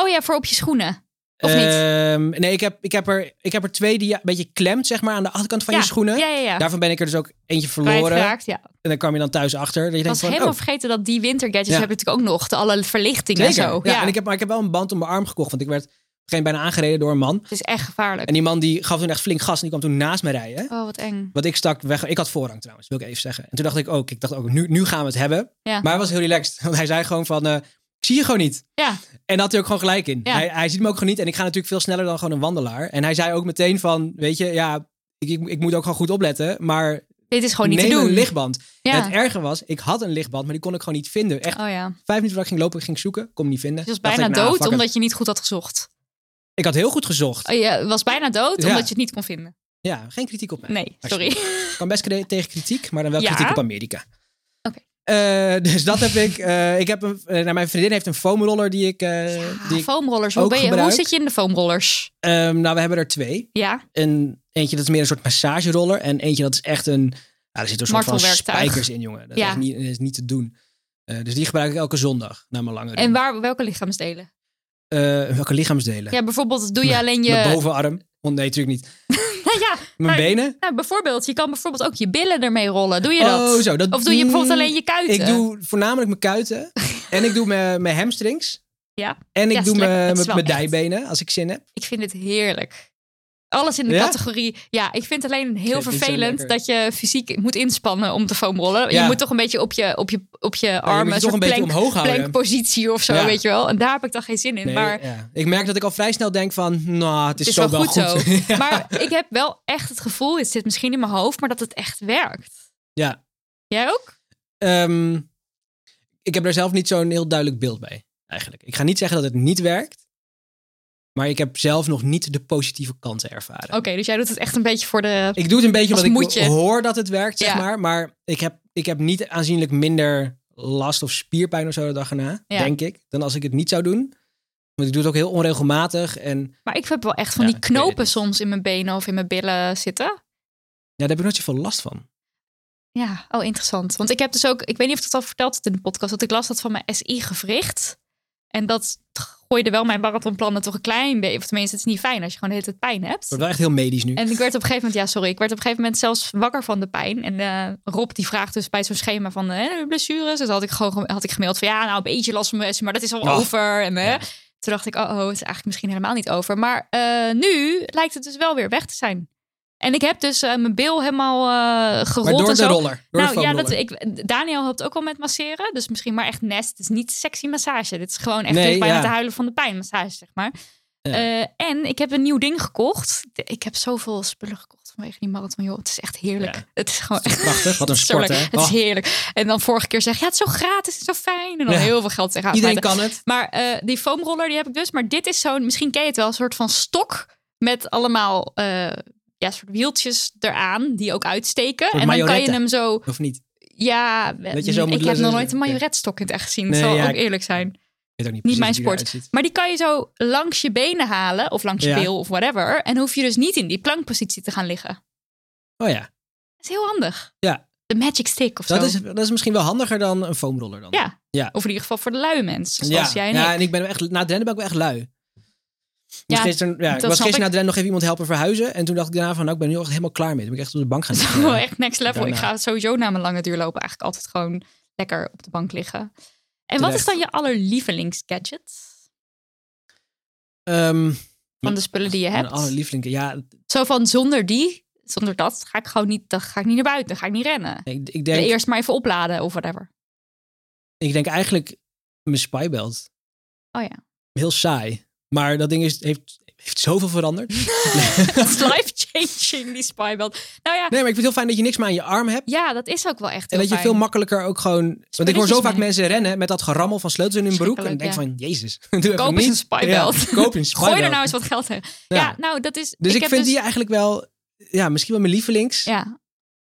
S1: Oh ja, voor op je schoenen. Of niet?
S2: Ehm, nee, ik heb, ik, heb er, ik heb er twee die je een beetje klemt, zeg maar, aan de achterkant van
S1: ja.
S2: je schoenen.
S1: Ja, ja, ja.
S2: Daarvan ben ik er dus ook eentje verloren.
S1: Kwijtgeraakt, ja.
S2: En dan kwam je dan thuis achter. Dat je
S1: Ik
S2: denkt
S1: was
S2: van,
S1: helemaal
S2: oh,
S1: vergeten dat die wintergadgets
S2: Ja.
S1: hebben natuurlijk ook nog. De alle verlichting en
S2: Zeker.
S1: zo.
S2: Ja,
S1: Ja,
S2: En ik heb, maar ik heb wel een band om mijn arm gekocht. Want ik werd geen bijna aangereden door een man.
S1: Het is echt gevaarlijk.
S2: En die man die gaf toen echt flink gas. En die kwam toen naast me rijden.
S1: Oh, wat eng.
S2: Want ik stak weg. Ik had voorrang trouwens, wil ik even zeggen. En toen dacht ik ook, ik dacht ook, nu, nu gaan we het hebben.
S1: Ja.
S2: Maar hij was heel relaxed. (laughs) Want hij zei gewoon van, eh, ik zie je gewoon niet.
S1: Ja.
S2: En daar had hij ook gewoon gelijk in.
S1: Ja.
S2: Hij, hij ziet me ook gewoon niet. En ik ga natuurlijk veel sneller dan gewoon een wandelaar. En hij zei ook meteen van, weet je, ja, ik, ik, ik moet ook gewoon goed opletten. Maar
S1: Dit is gewoon niet
S2: neem
S1: te doen.
S2: een lichtband. En
S1: ja.
S2: het erge was, ik had een lichtband, maar die kon ik gewoon niet vinden. Echt
S1: Oh ja. Dus
S2: vijf minuten voordat ik ging lopen, ging ik zoeken. Kon hem niet vinden.
S1: je was
S2: Dacht
S1: bijna
S2: ik, nou,
S1: dood
S2: fuck it.
S1: omdat je niet goed had gezocht.
S2: Ik had heel goed gezocht.
S1: Oh, je was bijna dood
S2: Ja.
S1: omdat je het niet kon vinden.
S2: Ja, geen kritiek op mij.
S1: Nee, sorry.
S2: Alsjeblieft. Ik kan best kre- tegen kritiek, maar dan wel
S1: Ja?
S2: kritiek op Amerika.
S1: Oké.
S2: Eh, (laughs) dus dat heb ik. eh, ik heb een, eh, nou, mijn vriendin heeft een foamroller die ik. eh, die
S1: Ja,
S2: ik
S1: Ah, foamrollers. Hoe,
S2: ook
S1: ben je, hoe
S2: gebruik.
S1: zit je in de foamrollers?
S2: ehm, nou, we hebben er twee.
S1: Ja.
S2: Een, eentje dat is meer een soort massageroller. En eentje dat is echt een. Nou, er zitten een soort van
S1: Martelwerktuig.
S2: spijkers in, jongen. Dat
S1: Ja.
S2: is, niet, is niet te doen. Eh, dus die gebruik ik elke zondag na mijn lange
S1: En waar, welke lichaamsdelen?
S2: Eh, welke lichaamsdelen?
S1: Ja, bijvoorbeeld doe je alleen je...
S2: Mijn bovenarm. Oh, nee, natuurlijk niet.
S1: (laughs) ja,
S2: Mijn
S1: maar-
S2: benen.
S1: Nou, bijvoorbeeld, je kan bijvoorbeeld ook je billen ermee rollen. Doe je dat?
S2: Oh, zo. Dat,
S1: Of doe je bijvoorbeeld alleen je kuiten?
S2: Ik doe voornamelijk mijn kuiten. en ik doe mijn, mijn hamstrings.
S1: Ja.
S2: En ik
S1: Ja, is
S2: doe
S1: lekker.
S2: mijn-
S1: Het is
S2: mijn
S1: wel
S2: mijn
S1: echt.
S2: dijbenen als ik zin heb.
S1: Ik vind het heerlijk. Alles in de
S2: Ja?
S1: categorie. Ja, ik vind het alleen heel
S2: vind het zo
S1: vervelend
S2: lekker.
S1: dat je fysiek moet inspannen om te foamrollen.
S2: Ja.
S1: Je moet toch een beetje op je, op je, op je
S2: Maar je
S1: armen,
S2: moet je
S1: een
S2: toch
S1: soort
S2: een beetje
S1: plank-
S2: omhoog houden.
S1: plankpositie of zo,
S2: Ja.
S1: weet je wel. En daar heb ik dan geen zin in.
S2: Nee,
S1: maar
S2: ja. Ik merk dat ik al vrij snel denk van, nou, het is,
S1: het is
S2: zo
S1: wel goed, zo.
S2: (laughs) (laughs) Ja.
S1: Maar ik heb wel echt het gevoel, het zit misschien in mijn hoofd, maar dat het echt werkt.
S2: Ja.
S1: Jij ook?
S2: Ehm, ik heb daar zelf niet zo'n heel duidelijk beeld bij, eigenlijk. Ik ga niet zeggen dat het niet werkt, maar ik heb zelf nog niet de positieve kanten ervaren.
S1: Oké, dus jij doet het echt een beetje voor de...
S2: Ik doe het een beetje
S1: Als
S2: omdat ik
S1: moedje.
S2: hoor dat het werkt, zeg
S1: Ja.
S2: maar. Maar ik heb, ik heb niet aanzienlijk minder last of spierpijn of zo de dag erna,
S1: Ja.
S2: denk ik, dan als ik het niet zou doen. Want ik doe het ook heel onregelmatig. En
S1: Maar ik heb wel echt van
S2: Ja, dus-
S1: die
S2: ik weet het
S1: knopen
S2: niet.
S1: soms in mijn benen of in mijn billen zitten.
S2: ja, daar heb ik nooit zoveel last van.
S1: Ja, oh interessant. Want ik heb dus ook, ik weet niet of ik het al verteld heb in de podcast, dat ik last had van mijn SI-gewricht. En dat gooide wel mijn marathonplannen toch een klein beetje. Of tenminste, het is niet fijn als je gewoon de hele tijd pijn
S2: Het
S1: hebt.
S2: wordt wel echt heel medisch nu.
S1: En ik werd op een gegeven moment, ja, sorry, ik werd op een gegeven moment zelfs wakker van de pijn. En eh, Rob die vraagt dus bij zo'n schema van eh, blessures. Dus had ik gewoon had ik gemaild van ja, nou een beetje last van mijn SI, maar dat is al
S2: Oh.
S1: over. En eh,
S2: Ja.
S1: toen dacht ik, oh, oh, het is eigenlijk misschien helemaal niet over. Maar eh, nu lijkt het dus wel weer weg te zijn. En ik heb dus eh, mijn bil helemaal eh gerold
S2: maar door
S1: en
S2: de
S1: zo
S2: roller. Door de
S1: nou ja,
S2: foamroller.
S1: dat, ik, Daniel helpt ook wel met masseren. Dus misschien maar echt nest. Het is niet sexy massage. Dit is gewoon echt
S2: Nee,
S1: nee, bijna
S2: ja.
S1: te huilen van de pijn massage, zeg maar.
S2: Ja.
S1: Eh, en ik heb een nieuw ding gekocht. De- Ik heb zoveel spullen gekocht vanwege die marathon. Joh, het is echt heerlijk.
S2: Ja.
S1: Het is gewoon echt
S2: Prachtig, wat een
S1: (laughs) zo
S2: sport,
S1: lekker.
S2: hè?
S1: Het is
S2: Oh,
S1: heerlijk. En dan vorige keer zeg je, ja, het is zo gratis, het is zo fijn. En dan
S2: Ja.
S1: heel veel geld tegenaan.
S2: iedereen
S1: smijten.
S2: kan het.
S1: Maar eh, die foamroller die heb ik dus. Maar dit is zo'n, misschien ken je het wel, een soort van stok met allemaal eh, ja, soort wieltjes eraan die ook uitsteken. En dan kan je
S2: majoretten.
S1: hem zo
S2: Of niet?
S1: ja,
S2: Dat je zo moet
S1: ik heb
S2: lezen.
S1: nog nooit een majoretsstok in het echt gezien.
S2: Nee,
S1: dat zal
S2: ja,
S1: ook
S2: ik-
S1: eerlijk zijn.
S2: Ik weet ook niet,
S1: Niet
S2: precies
S1: mijn
S2: hoe die
S1: sport.
S2: eruit ziet.
S1: Maar die kan je zo langs je benen halen. Of langs je
S2: Ja.
S1: bil of whatever. En hoef je dus niet in die plankpositie te gaan liggen. Dat
S2: Oh ja,
S1: is heel handig.
S2: Ja.
S1: De magic stick of
S2: dat
S1: zo.
S2: is, dat is misschien wel handiger dan een foamroller dan.
S1: Ja.
S2: Ja.
S1: Of in ieder geval voor de lui mensen. Zoals
S2: ja.
S1: jij en
S2: ja,
S1: ik. (laughs)
S2: en ik ben echt, na het rennen ben ik wel echt lui. Ik moest
S1: Ja,
S2: gisteren, ja, ik
S1: snap
S2: was gisteren
S1: ik.
S2: na het rennen nog even iemand helpen verhuizen. En toen dacht ik daarna van, nou, ik ben nu echt helemaal klaar mee. Toen ben ik echt op de bank
S1: (laughs)
S2: gaan
S1: Dat is
S2: zitten.
S1: wel echt next level. Ik
S2: Daarna.
S1: ga sowieso na mijn lange duurlopen eigenlijk altijd gewoon lekker op de bank liggen. En wat is
S2: Terecht.
S1: dan je allerlievelingsgadget?
S2: Ehm,
S1: Van de spullen die je
S2: mijn
S1: hebt?
S2: allerlievelinge. Ja,
S1: Zo van zonder die, zonder dat ga ik gewoon niet, dan ga ik niet naar buiten, dan ga ik niet rennen.
S2: ik, ik,
S1: De
S2: denk,
S1: Eerst maar even opladen of
S2: (laughs)
S1: whatever.
S2: ik denk eigenlijk mijn spybelt.
S1: Oh ja.
S2: Heel saai. Maar dat ding is, heeft, heeft zoveel
S1: (laughs)
S2: veranderd.
S1: Dat is life changing, die spybelt. Nou ja,
S2: Nee, maar ik vind het heel fijn dat je niks meer aan je arm hebt.
S1: ja, dat is ook wel echt
S2: En
S1: heel
S2: dat je
S1: fijn.
S2: veel makkelijker ook gewoon... Want ik hoor zo
S1: Spulletjes
S2: vaak
S1: mee.
S2: mensen rennen met dat gerammel van sleutels in hun broek. En ik denk van,
S1: Schrikkelijk,
S2: jezus. (laughs) Doe even
S1: Koop eens
S2: niet.
S1: een spybelt.
S2: Ja, koop een
S1: (laughs)
S2: spybelt.
S1: Gooi er nou eens wat geld in. Ja,
S2: Ja.
S1: nou dat is...
S2: Dus ik,
S1: heb
S2: vind die eigenlijk wel... Ja, misschien wel mijn lievelings
S1: Ja,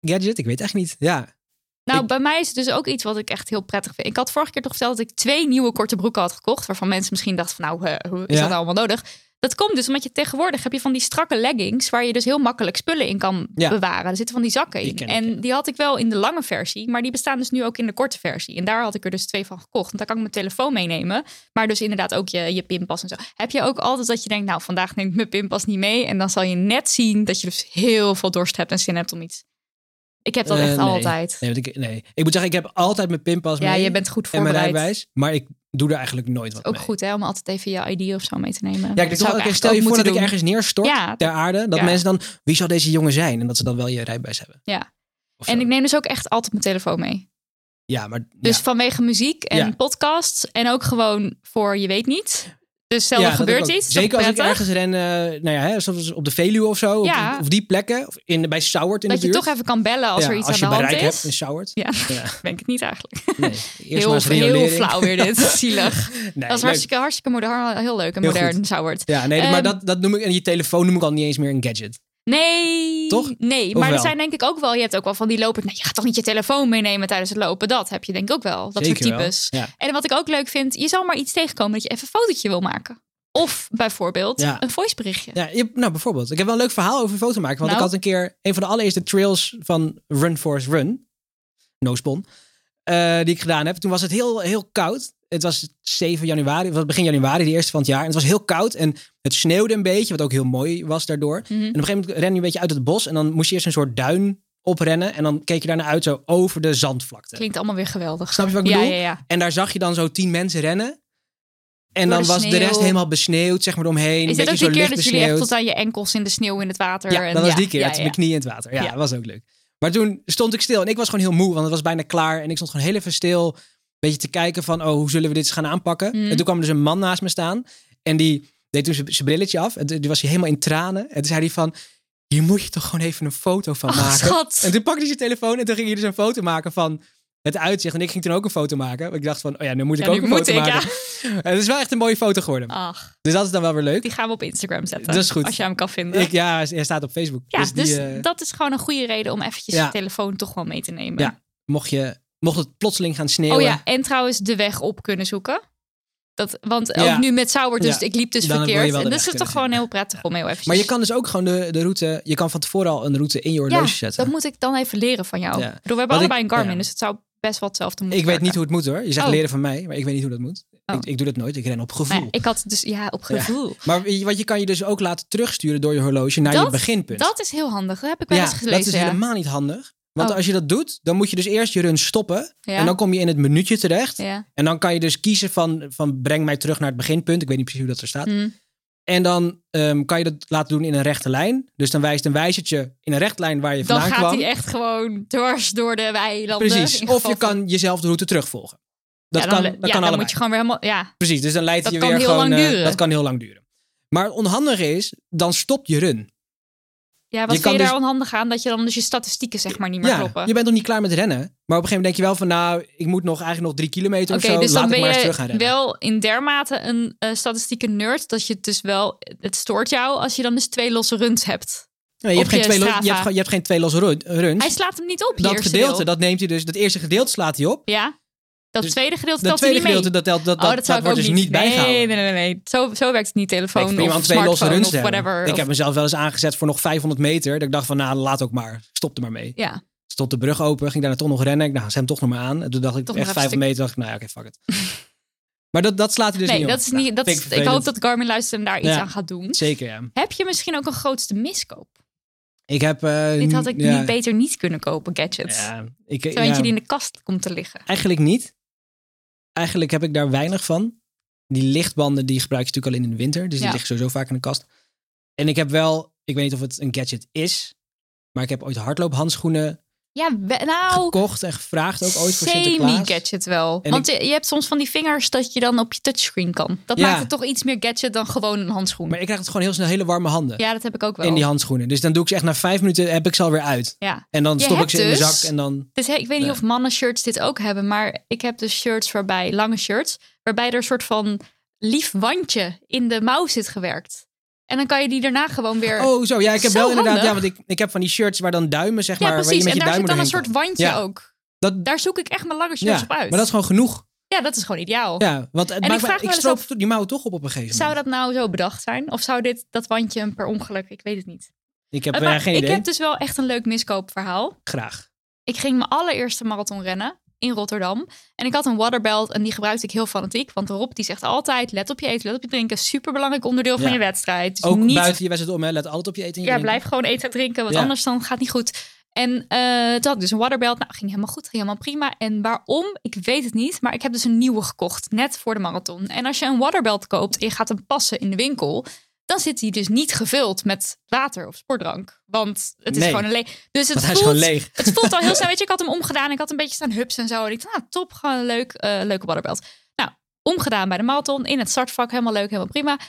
S2: gadget. Ik weet echt niet. Ja.
S1: Nou,
S2: Ik-
S1: bij mij is het dus ook iets wat ik echt heel prettig vind. Ik had vorige keer toch verteld dat ik twee nieuwe korte broeken had gekocht. Waarvan mensen misschien dachten van nou, eh, hoe is
S2: Ja.
S1: dat nou allemaal nodig? Dat komt dus omdat je tegenwoordig heb je van die strakke leggings... waar je dus heel makkelijk spullen in kan
S2: Ja.
S1: bewaren. Er zitten van die zakken
S2: Die
S1: in.
S2: ken ik,
S1: en die had ik wel in de lange versie. Maar die bestaan dus nu ook in de korte versie. En daar had ik er dus twee van gekocht. Want daar kan ik mijn telefoon meenemen. Maar dus inderdaad ook je, je pinpas en zo. Heb je ook altijd dat je denkt, nou vandaag neem ik mijn pinpas niet mee. En dan zal je net zien dat je dus heel veel dorst hebt en zin hebt om iets. Ik heb dat
S2: Eh,
S1: echt
S2: nee.
S1: altijd.
S2: Nee, want ik, nee, ik moet zeggen, ik heb altijd mijn pinpas
S1: Ja,
S2: mee
S1: je bent goed
S2: en mijn
S1: voorbereid.
S2: rijbewijs. Maar ik doe er eigenlijk nooit wat
S1: Ook
S2: mee.
S1: goed hè, om altijd even je ID of zo mee te nemen.
S2: Ja, ik denk
S1: zou
S2: wel, oké,
S1: eigenlijk
S2: stel je
S1: ook
S2: voor
S1: moeten
S2: dat ik
S1: doen.
S2: ergens neerstort
S1: Ja,
S2: ter aarde. Dat
S1: ja.
S2: mensen dan, wie zal deze jongen zijn? En dat ze dan wel je rijbewijs hebben.
S1: Ja.
S2: Of
S1: en
S2: zo.
S1: ik neem dus ook echt altijd mijn telefoon mee.
S2: Ja, maar...
S1: Dus
S2: ja.
S1: vanwege muziek en
S2: Ja.
S1: podcasts en ook gewoon voor je weet niet. Dus stel
S2: Ja,
S1: er
S2: dat
S1: gebeurt
S2: ook.
S1: iets.
S2: Zeker als ik
S1: prettig,
S2: ergens ren, eh, nou ja, hè, zoals op de Veluwe of zo.
S1: Ja.
S2: Of, of die plekken. Of in, bij Sauwert in
S1: Dat
S2: de
S1: je
S2: buurt.
S1: toch even kan bellen als
S2: Ja,
S1: er iets
S2: als
S1: aan de
S2: je
S1: hand
S2: bereik
S1: is.
S2: hebt in
S1: (laughs)
S2: Sauwert.
S1: Ja.
S2: Ja.
S1: Ben ik het niet eigenlijk.
S2: Nee, eerst maar
S1: Heel,
S2: eens
S1: heel
S2: riolering.
S1: flauw weer
S2: (laughs)
S1: dit. Zielig.
S2: Nee,
S1: dat is
S2: leuk.
S1: hartstikke, hartstikke modern. Heel leuk en
S2: Heel
S1: modern
S2: goed.
S1: zou het.
S2: Ja, nee,
S1: Ehm,
S2: maar dat, dat noem ik... En je telefoon noem ik al niet eens meer een gadget.
S1: Nee.
S2: Toch?
S1: Nee,
S2: Of
S1: maar er
S2: wel?
S1: zijn denk ik ook wel... Je hebt ook wel van die lopers... Nou, je gaat toch niet je telefoon meenemen tijdens het lopen? Dat heb je denk ik ook wel. Dat
S2: Zeker
S1: soort
S2: wel.
S1: types.
S2: Ja.
S1: En wat ik ook leuk vind... Je zal maar iets tegenkomen dat je even een fotootje wil maken. Of bijvoorbeeld
S2: Ja.
S1: een voiceberichtje.
S2: Ja, je- nou bijvoorbeeld. Ik heb wel een leuk verhaal over foto maken. Want
S1: Nou.
S2: ik had een keer een van de allereerste trails van Run Force Run. No spon. eh, die ik gedaan heb. Toen was het heel, heel koud. Het was 7 januari, het was begin januari, de eerste van het jaar. En het was heel koud en het sneeuwde een beetje, wat ook heel mooi was daardoor. En op
S1: Mhm.
S2: een gegeven moment ren je een beetje uit het bos en dan moest je eerst een soort duin oprennen. En dan keek je daarna uit zo over de zandvlakte.
S1: Klinkt allemaal weer geweldig.
S2: Snap je wat ik
S1: ja,
S2: bedoel?
S1: ja, ja.
S2: En daar zag je dan zo tien mensen rennen. En
S1: Door
S2: dan
S1: de
S2: was de
S1: sneeuw.
S2: rest helemaal besneeuwd, zeg maar, omheen.
S1: Is
S2: een
S1: dit
S2: beetje
S1: ook die
S2: zo
S1: keer
S2: licht
S1: dat jullie echt
S2: besneeuwd.
S1: tot aan je enkels in de sneeuw in het water?
S2: Ja,
S1: en-
S2: dat was die keer.
S1: ja,
S2: dat
S1: ja,
S2: mijn knieën in het water. Ja,
S1: Ja.
S2: dat was ook leuk. Maar toen stond ik stil en ik was gewoon heel moe, want het was bijna klaar. En ik stond gewoon heel even stil, een beetje te kijken van, oh, hoe zullen we dit eens gaan aanpakken?
S1: Mm.
S2: En toen kwam er dus een man naast me staan en die deed toen zijn- zijn brilletje af. En toen die was hij helemaal in tranen. En toen zei hij van, hier moet je toch gewoon even een foto van
S1: Ach,
S2: maken.
S1: Oh, schat.
S2: En toen pakte hij zijn telefoon en toen ging hij dus een foto maken van het uitzicht. En ik ging toen ook een foto maken. Want ik dacht van, oh ja, nu moet ik
S1: Ja,
S2: ook
S1: nu
S2: een
S1: moet
S2: foto
S1: ik, ja.
S2: maken. (laughs) En het is wel echt een mooie foto geworden.
S1: Ach,
S2: Dus dat is dan wel weer leuk.
S1: die gaan we op Instagram zetten.
S2: Dat is goed.
S1: Als je hem kan vinden.
S2: Ik, ja, hij staat op Facebook.
S1: ja,
S2: dus
S1: dus,
S2: die, eh,
S1: dat is gewoon een goede reden om eventjes
S2: Ja.
S1: je telefoon toch wel mee te nemen.
S2: Ja, mocht, je, mocht het plotseling gaan sneeuwen.
S1: Oh ja, en trouwens de weg op kunnen zoeken. Dat, want
S2: Ja.
S1: ook nu met Sauber, dus
S2: Ja.
S1: ik liep dus
S2: Dan wil je
S1: verkeerd.
S2: wel de
S1: En dat
S2: weg
S1: is toch
S2: kunnen
S1: gewoon
S2: zien.
S1: heel prettig om heel even.
S2: Maar je kan dus ook gewoon de, de route. Je kan van tevoren al een route in je horloge
S1: ja,
S2: zetten.
S1: dat moet ik dan even leren van jou.
S2: Ja.
S1: Ik bedoel, we hebben
S2: Wat ik-
S1: allebei een Garmin,
S2: ja.
S1: dus het zou best wel hetzelfde moeten
S2: ik weet niet
S1: werken.
S2: hoe het moet hoor. Je zegt
S1: Oh.
S2: leren van mij, maar ik weet niet hoe dat moet.
S1: Oh.
S2: Ik, ik doe dat nooit. Ik ren op gevoel.
S1: Nee, ik had dus ja op
S2: Ja.
S1: gevoel.
S2: Maar je- wat je kan je dus ook laten terugsturen door je horloge naar je
S1: Dat-
S2: beginpunt.
S1: Dat is heel handig. Dat heb ik wel
S2: ja,
S1: eens gelezen.
S2: dat is
S1: ja.
S2: helemaal niet handig. Want
S1: Oh.
S2: als je dat doet, dan moet je dus eerst je run stoppen.
S1: Ja.
S2: En dan kom je in het minuutje terecht.
S1: Ja.
S2: En dan kan je dus kiezen van, van breng mij terug naar het beginpunt. Ik weet niet precies hoe dat er staat.
S1: Hm.
S2: En dan ehm, kan je dat laten doen in een rechte lijn. Dus dan wijst een wijzertje in een rechte lijn waar je
S1: Dan
S2: vandaan
S1: gaat
S2: kwam.
S1: hij echt gewoon dwars door de weilanden.
S2: Precies.
S1: in
S2: Of
S1: geval
S2: je
S1: van-
S2: kan jezelf de route terugvolgen. Dat
S1: ja,
S2: kan,
S1: dan,
S2: dat
S1: ja,
S2: kan
S1: dan
S2: allebei.
S1: moet je gewoon weer helemaal. Ja,
S2: Precies, dus dan leidt
S1: Dat
S2: je
S1: kan
S2: weer
S1: heel
S2: gewoon...
S1: lang
S2: eh,
S1: duren.
S2: dat kan heel lang duren. Maar het onhandige is, dan stopt je run.
S1: ja wat
S2: Je kan
S1: vind je
S2: dus-
S1: daar onhandig aan? Dat je dan dus je statistieken zeg maar niet meer
S2: Ja,
S1: kloppen.
S2: je bent nog niet klaar met rennen. Maar op een gegeven moment denk je wel van... nou, ik moet nog eigenlijk nog drie kilometer
S1: Oké,
S2: of zo.
S1: dus
S2: Laat
S1: dan
S2: ik
S1: ben
S2: maar eens terug gaan
S1: je
S2: rennen.
S1: wel in dermate een eh, statistieke nerd dat je het dus wel, het stoort jou als je dan dus twee losse runs hebt.
S2: Nee, je, hebt
S1: op
S2: geen
S1: je
S2: twee lo- je, hebt
S1: Strava.
S2: gewoon- je hebt geen twee losse run- runs.
S1: Hij slaat hem niet op. die
S2: Dus dat
S1: eerste
S2: gedeelte,
S1: deel.
S2: dat neemt hij dus... Dat eerste gedeelte slaat hij op.
S1: ja. Dat
S2: Dus
S1: tweede gedeelte
S2: Dat
S1: telt hij
S2: tweede
S1: niet mee.
S2: gedeelte, dat, telt, dat,
S1: oh,
S2: dat,
S1: dat
S2: dat
S1: zou ik ook
S2: wordt dus niet bijgehouden.
S1: Nee, nee, nee, nee. Zo, zo werkt het niet
S2: Ik
S1: telefoon
S2: vind prima
S1: of
S2: om twee losse
S1: smartphone
S2: runs
S1: of
S2: te hebben.
S1: whatever.
S2: Ik
S1: of-
S2: heb mezelf wel eens aangezet voor nog 500 meter. Dat ik dacht van, nou, laat ook maar. Stop er maar mee.
S1: ja.
S2: stond de brug open, ging daarna toch nog rennen. Ik dacht, ze hem toch nog maar aan. En toen dacht ik,
S1: Toch
S2: echt
S1: nog even
S2: 500 meter, dacht ik, nou ja, oké, fuck it.
S1: (laughs)
S2: maar dat, dat slaat hij dus
S1: nee,
S2: niet
S1: dat
S2: op.
S1: is
S2: Nou,
S1: niet. Dat
S2: vind
S1: is, ik
S2: vervelend.
S1: hoop dat Garmin luisteren daar iets
S2: Ja.
S1: aan gaat doen.
S2: Zeker, ja.
S1: Heb je misschien ook een grootste miskoop?
S2: Ik heb... eh,
S1: Dit had ik
S2: ja,
S1: niet beter niet kunnen kopen, gadgets.
S2: Ja, ik,
S1: Zo
S2: ja,
S1: eentje die in de kast komt te liggen.
S2: Eigenlijk niet. Eigenlijk heb ik daar weinig van. Die lichtbanden, die gebruik je natuurlijk al in de winter. Dus die
S1: Ja.
S2: liggen sowieso vaak in de kast. En ik heb wel, ik weet niet of het een gadget is... Maar ik heb ooit hardloophandschoenen
S1: Ja, we- nou,
S2: gekocht en gevraagd ook ooit voor Sinterklaas.
S1: semi-gadget wel.
S2: En
S1: Want je, je hebt soms van die vingers dat je dan op je touchscreen kan. Dat
S2: Ja.
S1: maakt het toch iets meer gadget dan gewoon een handschoen.
S2: Maar ik krijg het gewoon heel snel hele warme handen
S1: ja, dat heb ik ook wel.
S2: in die handschoenen. Dus dan doe ik ze echt na vijf minuten, heb ik ze alweer uit.
S1: ja.
S2: En dan
S1: Je
S2: stop ik
S1: hebt
S2: ze in mijn
S1: dus-
S2: zak en dan...
S1: Dus, hè, ik weet niet
S2: Ja.
S1: of mannen shirts dit ook hebben, maar ik heb dus shirts waarbij, lange shirts, waarbij er een soort van lief wandje in de mouw zit gewerkt. En dan kan je die daarna gewoon weer...
S2: Oh, zo. Ja, ik heb
S1: Zo
S2: wel inderdaad... Ja,
S1: handig.
S2: want ik, ik heb van die shirts waar dan duimen, zeg
S1: ja,
S2: maar... Waar je
S1: precies.
S2: met
S1: En
S2: je
S1: daar zit
S2: duimen
S1: dan een
S2: erheen
S1: soort
S2: kan.
S1: wandje
S2: Ja.
S1: ook.
S2: Dat-
S1: Daar zoek ik echt mijn lange
S2: Ja,
S1: shirts op uit.
S2: maar dat is gewoon genoeg.
S1: Ja, dat is gewoon ideaal.
S2: Ja, want het
S1: ik
S2: maakt me-
S1: vraag me
S2: ik
S1: wel
S2: stroop
S1: eens
S2: die mouw toch op op een gegeven moment.
S1: Zou dat nou zo bedacht zijn? Of zou dit dat wandje een per ongeluk? Ik weet het niet.
S2: Ik heb
S1: Eh,
S2: eh,
S1: maar
S2: geen
S1: ik
S2: idee.
S1: heb dus wel echt een leuk miskoopverhaal.
S2: Graag.
S1: Ik ging mijn allereerste marathon rennen in Rotterdam. En ik had een waterbelt en die gebruikte ik heel fanatiek. Want Rob die zegt altijd, let op je eten, let op je drinken. Superbelangrijk onderdeel van
S2: Ja.
S1: je wedstrijd. Dus
S2: Ook
S1: niet,
S2: buiten je wedstrijd om, hè. Let altijd op je eten en je
S1: ja,
S2: drinken.
S1: blijf gewoon eten en drinken, want
S2: Ja.
S1: anders dan gaat het niet goed. En eh toen had ik dus een waterbelt. Nou, ging helemaal goed, ging helemaal prima. En waarom? Ik weet het niet. Maar ik heb dus een nieuwe gekocht, net voor de marathon. En als je een waterbelt koopt en je gaat hem passen in de winkel... dan zit die dus niet gevuld met water of sportdrank. Want het is
S2: Nee.
S1: gewoon een leeg... Dus het
S2: Want hij is
S1: voelt,
S2: gewoon leeg.
S1: het voelt al heel snel. Weet je, ik had hem omgedaan. Ik had een beetje staan hups en zo. En ik dacht, nou, top, gewoon een leuk, eh, leuke waterbelt. Nou, omgedaan bij de marathon. In het startvak, helemaal leuk, helemaal prima.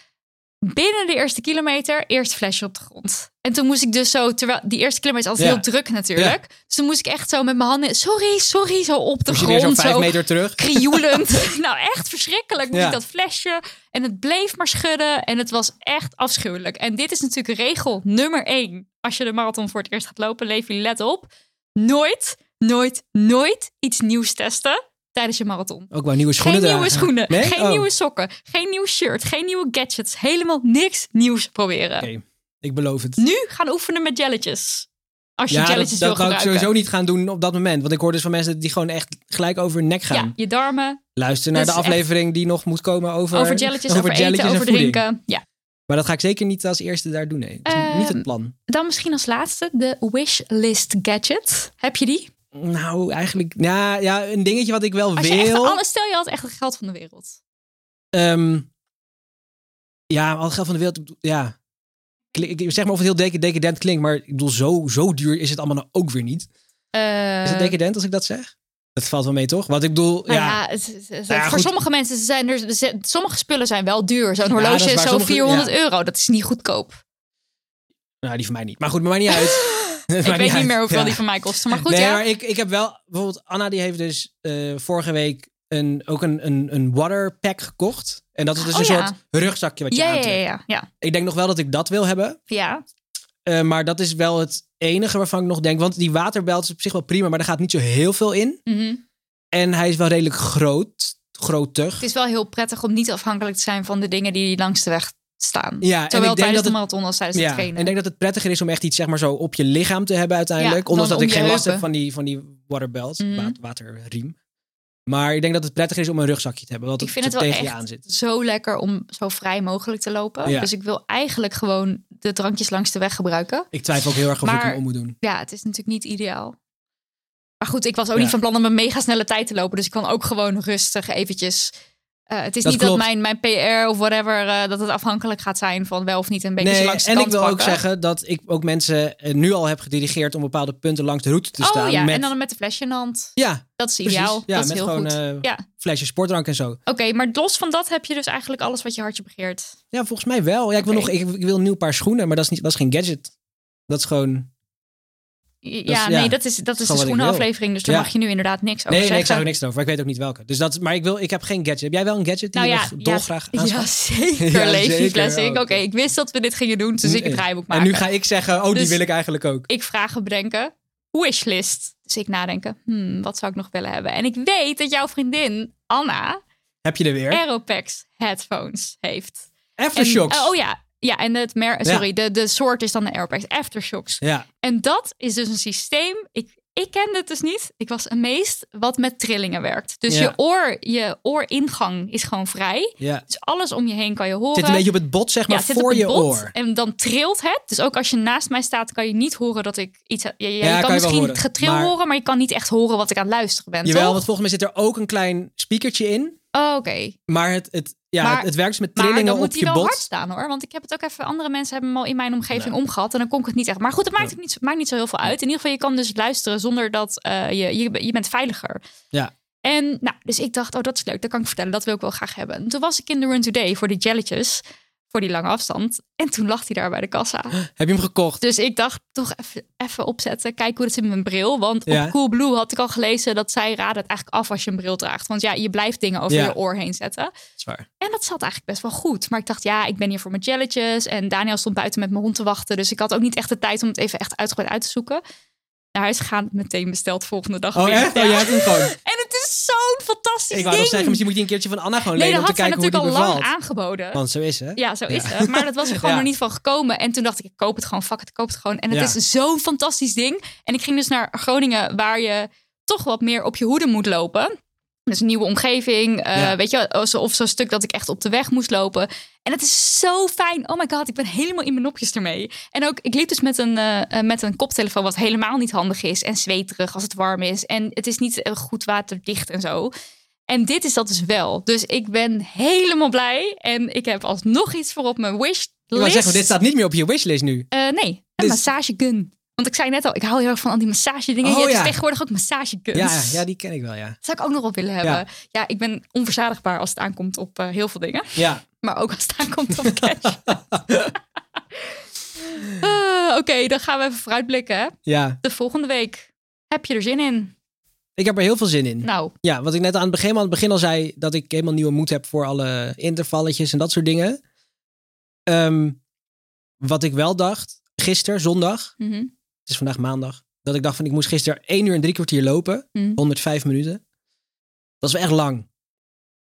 S1: Binnen de eerste kilometer, eerst flesje op de grond. En toen moest ik dus zo, terwijl die eerste kilometer is altijd
S2: Ja.
S1: heel druk natuurlijk. Dus toen moest ik echt zo met mijn handen, sorry, sorry, zo op de
S2: Moest Dus je weer
S1: grond.
S2: zo'n vijf
S1: zo
S2: meter terug.
S1: krioelend.
S2: (laughs)
S1: nou, echt verschrikkelijk. Moest
S2: Ja.
S1: ik dat flesje. En het bleef maar schudden. En het was echt afschuwelijk. En dit is natuurlijk regel nummer één. Als je de marathon voor het eerst gaat lopen, Levi, let op. Nooit, nooit, nooit iets nieuws testen tijdens je marathon.
S2: Ook wel nieuwe schoenen
S1: geen nieuwe
S2: dragen.
S1: schoenen,
S2: Nee?
S1: geen
S2: Oh,
S1: nieuwe sokken, geen nieuw shirt, geen nieuwe gadgets. Helemaal niks nieuws proberen.
S2: Oké. Ik beloof het.
S1: Nu gaan oefenen met jelletjes. Als je
S2: Ja, dat,
S1: jelletjes
S2: dat
S1: wil
S2: wou ik
S1: gebruiken.
S2: sowieso niet gaan doen op dat moment. Want ik hoor dus van mensen die gewoon echt gelijk over hun nek gaan.
S1: ja, je darmen,
S2: Luister naar
S1: Dat
S2: de
S1: is echt-
S2: aflevering die nog moet komen over...
S1: over jelletjes, over,
S2: jelletjes en
S1: eten, over
S2: voeding.
S1: drinken. Ja.
S2: Maar dat ga ik zeker niet als eerste daar doen. Nee. Dat is niet het
S1: Ehm,
S2: plan.
S1: Dan misschien als laatste de wishlist gadget. Heb je die?
S2: Nou, eigenlijk... Ja, ja, een dingetje wat ik wel
S1: Als je echt
S2: wil...
S1: alles, stel je had echt het geld van de wereld.
S2: ehm, Ja, al het geld van de wereld. ik bedoel, Ja. Klink- ik- Zeg maar of het heel dec- decadent klinkt, maar ik bedoel, zo, zo duur is het allemaal nou ook weer niet.
S1: Eh,
S2: Is het decadent als ik dat zeg? Dat valt wel mee, toch? Want ik bedoel,
S1: nou
S2: ja.
S1: ja, het- het- het-
S2: ja,
S1: voor
S2: goed.
S1: sommige mensen zijn er, ze- sommige spullen zijn wel duur. Zo'n horloge
S2: dat is
S1: is,
S2: waar.
S1: zo'n
S2: Sommige-
S1: 400 euro. Dat is niet goedkoop.
S2: Nou, die van mij niet. Maar goed, maar
S1: (laughs)
S2: maakt niet uit. (laughs)
S1: Ik weet niet meer hoeveel die van mij kostte. Maar goed,
S2: nee,
S1: ja.
S2: maar ik, ik heb wel... Bijvoorbeeld Anna die heeft dus eh, vorige week een, ook een, een, een waterpack gekocht. En dat is dus
S1: Oh,
S2: een
S1: ja.
S2: soort rugzakje wat je
S1: ja, ja,
S2: aantrekt.
S1: ja, ja, ja.
S2: Ik denk nog wel dat ik dat wil hebben.
S1: Ja.
S2: Eh, maar dat is wel het enige waarvan ik nog denk. Want die waterbelt is op zich wel prima, maar daar gaat niet zo heel veel in.
S1: mhm.
S2: En hij is wel redelijk groot. Grootig.
S1: Het is wel heel prettig om niet afhankelijk te zijn van de dingen die langs de weg staan.
S2: Ja, en
S1: Zowel
S2: ik denk
S1: tijdens
S2: dat
S1: de
S2: het
S1: marathon als tijdens het
S2: Ja, en
S1: trainen.
S2: ik denk dat het prettiger is om echt iets zeg maar zo op je lichaam te hebben uiteindelijk.
S1: Ja,
S2: Ondanks
S1: dan
S2: dat ik
S1: om je
S2: geen last heb
S1: heupen.
S2: van die, van die waterbelt,
S1: Mhm.
S2: wa- waterriem. Maar ik denk dat het prettiger is om een rugzakje te hebben. Want
S1: Ik
S2: het
S1: vind het
S2: zo
S1: wel
S2: tegen je
S1: echt
S2: aan zit.
S1: zo lekker om zo vrij mogelijk te lopen.
S2: Ja.
S1: Dus ik wil eigenlijk gewoon de drankjes langs de weg gebruiken.
S2: Ik twijfel ook heel erg of ik
S1: Maar-
S2: hem om moet doen.
S1: Ja, het is natuurlijk niet ideaal. Maar goed, ik was ook
S2: Ja.
S1: niet van plan om een mega snelle tijd te lopen. Dus ik kan ook gewoon rustig eventjes... eh, het is
S2: Dat
S1: niet
S2: klopt.
S1: dat mijn, mijn PR of whatever... eh, dat het afhankelijk gaat zijn van wel of niet een beetje
S2: Nee,
S1: langs de
S2: en ik
S1: kant
S2: wil ook
S1: pakken.
S2: zeggen dat ik ook mensen eh, nu al heb gedirigeerd om bepaalde punten langs de route te staan.
S1: oh ja,
S2: met,
S1: en dan met de flesje in de hand.
S2: ja,
S1: Dat is
S2: precies.
S1: ideaal.
S2: Ja,
S1: dat is
S2: met
S1: heel
S2: gewoon
S1: goed.
S2: eh,
S1: Ja.
S2: flesje sportdrank en zo.
S1: Oké, maar los van dat heb je dus eigenlijk alles wat je hartje begeert.
S2: Ja, volgens mij wel. Ja, ik, wil
S1: Oké.
S2: nog, ik, ik wil een nieuw paar schoenen, maar dat is, niet, dat is geen gadget. Dat is
S1: Oh,
S2: gewoon...
S1: Ja,
S2: is- ja,
S1: nee, dat is, dat is de
S2: gewoon wat ik wil.
S1: schoenenaflevering. Dus daar
S2: Ja.
S1: mag je nu inderdaad niks over
S2: Nee, nee,
S1: zeggen.
S2: ik zeg er niks over. Maar ik weet ook niet welke. Dus dat, maar ik, wil, ik heb geen gadget. Heb jij wel een gadget die
S1: Nou
S2: je
S1: ja,
S2: nog
S1: ja.
S2: dolgraag
S1: (laughs)
S2: aanschaft?
S1: Ja, zeker,
S2: (laughs) Ja,
S1: Levi
S2: zeker.
S1: Classic.
S2: Oh,
S1: Oké,
S2: oké.
S1: ik wist dat we dit gingen doen, dus ik het
S2: Nee.
S1: draaiboek maken.
S2: En nu ga ik zeggen, oh, die
S1: Dus-
S2: wil ik eigenlijk ook.
S1: Ik vragen bedenken. Wishlist. Dus ik nadenken, hmm, wat zou ik nog willen hebben? En ik weet dat jouw vriendin Anna
S2: Heb je er weer?
S1: Aeropex headphones heeft. En-
S2: Aftershocks.
S1: oh ja, ja en het mer sorry, de, de soort is dan de Aeropex Aftershocks.
S2: ja.
S1: En dat is dus een systeem. Ik, ik kende het dus niet. Ik was amazed wat met trillingen werkt. Dus
S2: Ja.
S1: je, oor, je ooringang is gewoon vrij.
S2: ja. Het
S1: Dus alles om je heen kan je horen.
S2: zit een beetje op het bot, zeg
S1: Ja,
S2: maar,
S1: het zit op
S2: voor
S1: het
S2: je
S1: bot
S2: oor.
S1: En dan trilt het. Dus ook als je naast mij staat, kan je niet horen dat ik iets. Ja, ja,
S2: kan
S1: je
S2: je
S1: kan
S2: wel
S1: misschien
S2: horen,
S1: het getril
S2: maar-
S1: horen, maar je kan niet echt horen wat ik aan het luisteren ben.
S2: Jawel,
S1: toch?
S2: want volgens mij zit er ook een klein speakertje in.
S1: Oh, Oké.
S2: Maar het, het, ja,
S1: Maar-
S2: het, het werkt dus met
S1: Maar
S2: trillingen
S1: dan
S2: op
S1: moet hij
S2: je
S1: wel hard
S2: bot.
S1: staan hoor. Want ik heb het ook even. Andere mensen hebben hem al in mijn omgeving omgehad. En dan kon ik het niet echt. Maar goed, het maakt, ook niet, maakt niet zo heel veel uit. In ieder geval, je kan dus luisteren zonder dat eh, je, je. Je bent veiliger.
S2: Ja.
S1: En nou, dus ik dacht, oh, dat is leuk. Dat kan ik vertellen. Dat wil ik wel graag hebben. En toen was ik in de Run Today voor die jelletjes. Voor die lange afstand. En toen lag hij daar bij de kassa.
S2: Heb je hem gekocht?
S1: Dus ik dacht, toch even- even opzetten. Kijken hoe dat zit met mijn bril. Want
S2: Ja.
S1: op Coolblue had ik al gelezen dat zij raden het eigenlijk af als je een bril draagt. Want ja, je blijft dingen over
S2: Ja.
S1: je oor heen zetten.
S2: Zwaar.
S1: En dat zat eigenlijk best wel goed. Maar ik dacht, ja, ik ben hier voor mijn jelletjes. En Daniel stond buiten met mijn hond te wachten. Dus ik had ook niet echt de tijd om het even echt uitgebreid uit te zoeken. Naar huis gegaan, meteen besteld volgende dag.
S2: Oh,
S1: weer.
S2: echt? Oh, jij hebt hem gewoon.
S1: En het is zo'n fantastisch
S2: Ik
S1: ding.
S2: wou nog zeggen, misschien moet je die een keertje van Anna gewoon
S1: nee,
S2: lenen
S1: dat
S2: om te
S1: had zij
S2: kijken hoe
S1: natuurlijk
S2: die
S1: al lang
S2: bevalt.
S1: aangeboden.
S2: Want zo is het.
S1: Ja, zo is het. Maar dat was er gewoon
S2: (laughs) Ja.
S1: nog niet van gekomen. En toen dacht ik, ik koop het gewoon, fuck het, ik koop het gewoon. En het
S2: Ja.
S1: is zo'n fantastisch ding. En ik ging dus naar Groningen, waar je toch wat meer op je hoede moet lopen. Dus een nieuwe omgeving, eh,
S2: Ja.
S1: weet je, of zo- of zo'n stuk dat ik echt op de weg moest lopen. En het is zo fijn. Oh my god, ik ben helemaal in mijn nopjes ermee. En ook, ik liep dus met een, eh, eh, met een koptelefoon, wat helemaal niet handig is. En zweterig als het warm is. En het is niet eh, goed waterdicht en zo. En dit is dat dus wel. Dus ik ben helemaal blij. En ik heb alsnog iets voor op mijn wishlist.
S2: Ik wou zeggen, dit staat niet meer op je wishlist nu.
S1: Eh, nee, een
S2: Dit is-
S1: massagegun. Want ik zei net al, ik hou heel erg van al die massage dingen. je
S2: Oh,
S1: hebt
S2: ja.
S1: dus tegenwoordig ook massageguns.
S2: Ja, ja, die ken ik wel, ja.
S1: Dat zou ik ook nog op willen hebben. Ja, ik ben onverzadigbaar als het aankomt op eh, heel veel dingen.
S2: Ja,
S1: Maar ook als het aankomt op cash.
S2: (laughs)
S1: Ah, Oké, dan gaan we even vooruitblikken. hè.
S2: ja.
S1: De volgende week. Heb je er zin in?
S2: Mm. Ik heb er heel veel zin in.
S1: Nou,
S2: Ja, wat ik net aan het begin, aan het begin al zei, dat ik helemaal nieuwe moed heb voor alle intervalletjes en dat soort dingen. Ehm, wat ik wel dacht, gisteren, zondag,
S1: mhm,
S2: het is vandaag maandag, dat ik dacht van ik moest gisteren 1 uur en drie kwartier lopen,
S1: mhm.
S2: 105 minuten. Dat is wel echt lang.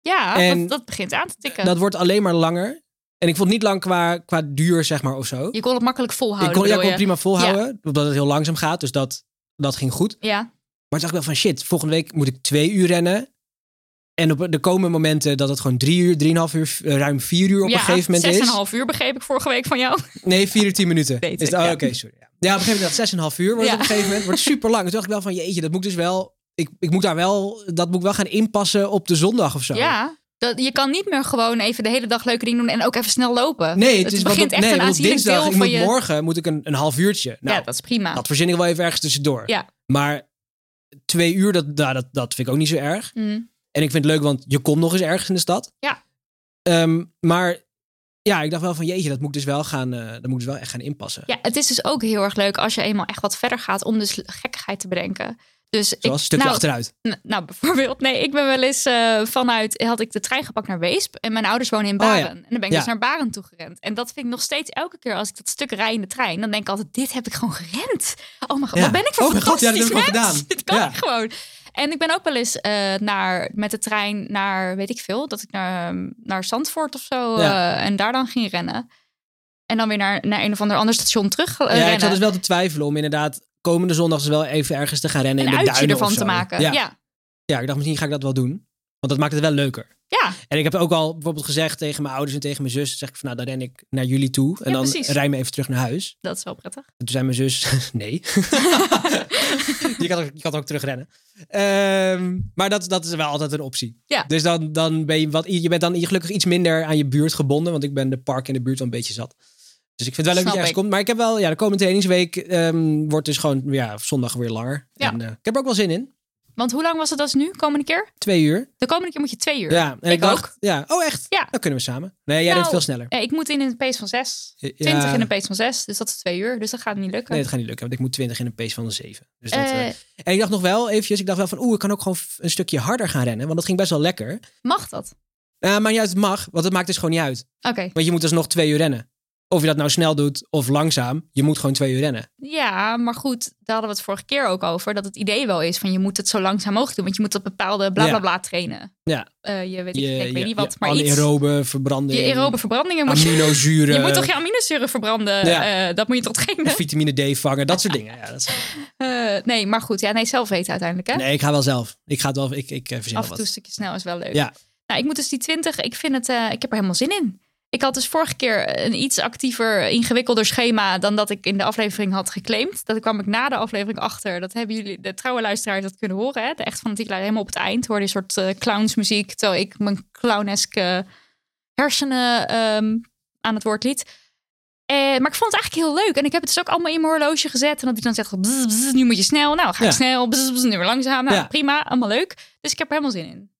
S1: ja,
S2: En-
S1: dat, dat begint aan te tikken.
S2: Dat wordt alleen maar langer. En ik vond het niet lang qua, qua duur, zeg maar, of zo.
S1: Je kon het makkelijk volhouden.
S2: ik kon, ja, ik
S1: bedoel
S2: kon
S1: je?
S2: prima volhouden, omdat het heel langzaam gaat, dus dat, dat ging goed.
S1: Ja,
S2: Maar toen dacht ik wel van shit, volgende week moet ik twee uur rennen. En op, er komen momenten dat het gewoon drie uur, drieënhalf uur, eh, ruim vier uur op
S1: ja,
S2: een gegeven moment
S1: zes en
S2: is.
S1: een half uur begreep ik vorige week van jou.
S2: Nee, vier uur, tien minuten.
S1: Weet
S2: Is
S1: ik,
S2: het- oh,
S1: ja.
S2: oké, sorry. Ja. ja, op een gegeven moment dat zes en een half uur wordt het
S1: Ja.
S2: op een gegeven moment. Wordt super lang. Toen dacht ik wel van jeetje, dat moet ik dus wel... Ik, ik moet daar wel, dat moet ik wel gaan inpassen op de zondag of zo.
S1: Ja, Dat, je kan niet meer gewoon even de hele dag leuke dingen doen en ook even snel lopen.
S2: Nee, het,
S1: Het
S2: is want
S1: begint
S2: op-
S1: echt
S2: nee,
S1: een
S2: want op
S1: aanzienlijk
S2: dinsdag,
S1: deel
S2: ik
S1: van
S2: moet
S1: je-
S2: morgen moet ik een, een half uurtje. Nou,
S1: ja, dat is prima.
S2: dat verzin ik wel even ergens tussendoor.
S1: Ja.
S2: Maar twee uur, dat, nou, dat, dat vind ik ook niet zo erg.
S1: Mm.
S2: En ik vind het leuk, want je komt nog eens ergens in de stad.
S1: Ja.
S2: Ehm, maar ja, ik dacht wel van jeetje, dat moet ik dus wel gaan, eh, dat moet ik dus wel echt gaan inpassen.
S1: Ja, het is dus ook heel erg leuk als je eenmaal echt wat verder gaat om dus gekkigheid te bedenken. Dus ik,
S2: Zoals een stukje
S1: nou,
S2: achteruit.
S1: n- nou, bijvoorbeeld, nee, ik ben wel eens eh, vanuit, had ik de trein gepakt naar Weesp en mijn ouders wonen in
S2: Oh, ja.
S1: Baren. En dan ben ik
S2: Ja.
S1: dus naar Baren toe gerend. En dat vind ik nog steeds elke keer als ik dat stuk rij in de trein, dan denk ik altijd, dit heb ik gewoon gerend. Oh mijn god,
S2: Ja.
S1: wat ben ik voor
S2: Oh mijn god, ja, dat heb
S1: fantastisch
S2: ik ook
S1: mens.
S2: gedaan.
S1: (laughs) Dit kan
S2: Ja.
S1: ik gewoon. En ik ben ook wel eens eh, naar, met de trein naar, weet ik veel, dat ik naar, ehm, naar Zandvoort of zo
S2: Ja.
S1: eh, en daar dan ging rennen. En dan weer naar, naar een of ander ander station terug eh,
S2: ja, ik
S1: rennen.
S2: zat dus wel te twijfelen om inderdaad komende zondag dus wel even ergens te gaan rennen
S1: een
S2: in de
S1: uitje
S2: duinen of
S1: ervan
S2: zo.
S1: te maken.
S2: Ja, ja.
S1: ja.
S2: ik dacht misschien ga ik dat wel doen. Want dat maakt het wel leuker.
S1: ja.
S2: En ik heb ook al bijvoorbeeld gezegd tegen mijn ouders en tegen mijn zus, zeg ik van nou, dan ren ik naar jullie toe. En
S1: Ja,
S2: dan
S1: precies.
S2: rij me even terug naar huis.
S1: Dat is wel prettig.
S2: En toen zei mijn zus, (laughs)
S1: (laughs)
S2: nee. je, kan ook, je kan ook terugrennen. Ehm, maar dat, dat is wel altijd een optie.
S1: Ja.
S2: Dus dan, dan ben je, wat, je bent dan gelukkig iets minder aan je buurt gebonden. Want ik ben de park in de buurt al een beetje zat. Dus ik vind het wel leuk dat je
S1: Snap
S2: ergens
S1: ik.
S2: komt. Maar ik heb wel, ja, de komende trainingsweek ehm, wordt dus gewoon ja, zondag weer langer.
S1: Ja.
S2: En, eh, ik heb er ook wel zin in.
S1: Want hoe lang was het als nu, komende keer?
S2: Twee uur.
S1: De komende keer moet je twee uur.
S2: Ja, en
S1: Ik
S2: ik, dacht, ja, oh echt?
S1: Ja.
S2: Dan kunnen we samen. Nee, jij
S1: Nou,
S2: rent veel sneller.
S1: Eh, Ik moet in een pace van zes.
S2: Ja.
S1: Twintig in een pace van zes. Dus dat is twee uur. Dus dat gaat niet lukken.
S2: Nee, dat gaat niet lukken, want ik moet 20 in een pace van een 7. Dus dat, eh,
S1: Eh,
S2: En ik dacht nog wel eventjes, ik dacht wel van oeh, ik kan ook gewoon f- een stukje harder gaan rennen. Want dat ging best wel lekker.
S1: mag dat?
S2: Eh, maar juist het mag, want het maakt dus gewoon niet uit.
S1: Oké.
S2: Want je moet dus nog twee uur rennen. Of je dat nou snel doet of langzaam, je moet gewoon twee uur rennen.
S1: Ja, maar goed. Daar hadden we het vorige keer ook over. Dat het idee wel is van je moet het zo langzaam mogelijk doen. Want je moet dat bepaalde bla bla bla trainen.
S2: Ja.
S1: Eh, je weet,
S2: Je,
S1: ik, ik weet
S2: je-
S1: niet wat,
S2: je
S1: maar iets.
S2: anaerobe verbranding.
S1: Je aerobe verbrandingen moet je... (laughs)
S2: aminozuren.
S1: Je moet toch je aminozuren verbranden?
S2: Ja.
S1: Eh, dat moet je toch
S2: (laughs)
S1: trainen?
S2: Vitamine D vangen, dat soort dingen. Ja, dat is-
S1: Eh, nee, maar goed. Ja, nee, zelf weten uiteindelijk. Hè?
S2: Nee, ik ga wel zelf. Ik ga het wel, ik, ik eh, verzin
S1: Af en
S2: wel
S1: toe een
S2: wat.
S1: stukje snel is wel leuk.
S2: Ja.
S1: Nou, ik moet dus die 20, ik vind het, eh, ik heb er helemaal zin in. Ik had dus vorige keer een iets actiever, ingewikkelder schema dan dat ik in de aflevering had geclaimd. Dat kwam ik na de aflevering achter. Dat hebben jullie, de trouwe luisteraars, dat kunnen horen. Hè? De echt fanatiek helemaal op het eind hoorde je een soort eh, clownsmuziek. Terwijl ik mijn clowneske eh, hersenen ehm, aan het woord liet. Eh, maar ik vond het eigenlijk heel leuk. En ik heb het dus ook allemaal in mijn horloge gezet. En dat ik dan zeg, bzz, bzz, nu moet je snel. Nou, ga ik
S2: Ja.
S1: snel. Bzz, bzz, nu weer langzaam. Nou,
S2: Ja.
S1: prima. Allemaal leuk. Dus ik heb er helemaal zin in.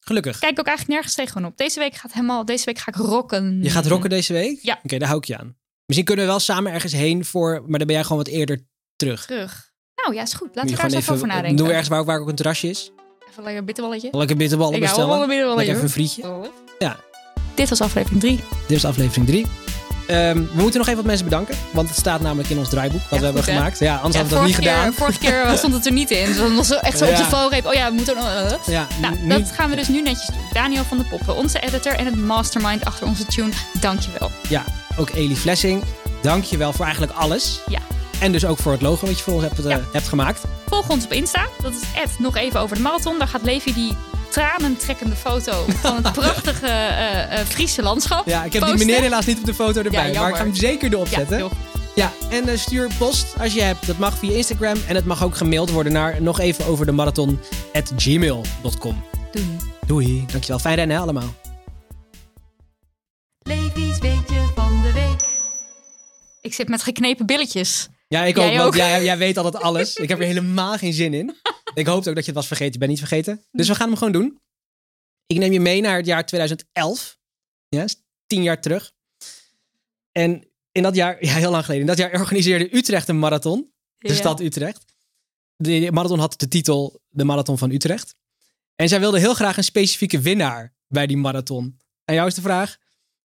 S2: Gelukkig.
S1: Ik kijk ook eigenlijk nergens tegenop. Deze week gaat helemaal. Deze week ga ik rocken.
S2: Je gaat rocken deze week?
S1: Ja.
S2: Oké, daar hou ik je aan. Misschien kunnen we wel samen ergens heen voor, maar dan ben jij gewoon wat eerder terug.
S1: terug. Nou ja, is goed. Laten
S2: Moet je
S1: we daar eens even over nadenken.
S2: Doen we ergens waar, waar ook een terrasje is.
S1: Even lekker bitterballetje.
S2: Lekker bitterballen
S1: Ik hou wel
S2: bestellen.
S1: een bitterballetje.
S2: Lekker even een frietje.
S1: hoor.
S2: Ja.
S1: Dit was aflevering Dus 3.
S2: Dit is aflevering 3. we moeten nog even wat mensen bedanken. Want het staat namelijk in ons draaiboek. Wat we hebben
S1: goed, hè?
S2: gemaakt. Ja, anders
S1: Ja,
S2: hadden we dat niet
S1: vorige,
S2: gedaan.
S1: keer, vorige
S2: (laughs)
S1: keer stond het er niet in. Dus dan was het echt zo op de
S2: Ja.
S1: valreep. Oh ja, we moeten. eh, eh.
S2: Ja,
S1: Nou,
S2: n-
S1: dat
S2: niet-
S1: gaan we dus nu netjes doen. Daniel van de Poppen, onze editor en het mastermind achter onze tune. Dankjewel.
S2: ja, ook Elie Flessing. Dank je wel voor eigenlijk alles.
S1: Ja.
S2: En dus ook voor het logo wat je voor ons hebt, eh,
S1: Ja.
S2: hebt gemaakt.
S1: Volg ons op Insta. Dat is het nog even over de marathon. Daar gaat Levi die tranentrekkende foto van
S2: (laughs)
S1: het prachtige eh, eh, Friese landschap.
S2: Ja, ik heb die
S1: posten.
S2: meneer helaas niet op de foto erbij. maar ik
S1: jammer.
S2: ga hem zeker erop
S1: Ja,
S2: zetten.
S1: heel goed.
S2: Ja, en eh, stuur post als je hebt. Dat mag via Instagram. En het mag ook gemaild worden naar nog even over de marathon at gmail.com.
S1: Doei.
S2: Doei. Dankjewel. Fijn rennen hè, allemaal.
S4: Levi's weetje van de week.
S1: Ik zit met geknepen billetjes.
S2: Ja, ik
S1: Jij
S2: ook, want
S1: ook.
S2: Jij, jij weet altijd alles. Ik heb
S1: (laughs)
S2: er helemaal geen zin in. Ik hoopte ook dat je het was vergeten. Ik ben niet vergeten. Dus we gaan hem gewoon doen. Ik neem je mee naar het jaar 2011. Ja, is tien jaar terug. En in dat jaar, ja, heel lang geleden, in dat jaar organiseerde Utrecht een marathon. De
S1: Ja.
S2: stad Utrecht. De marathon had de titel De Marathon van Utrecht. En zij wilden heel graag een specifieke winnaar bij die marathon. Aan jou is de vraag,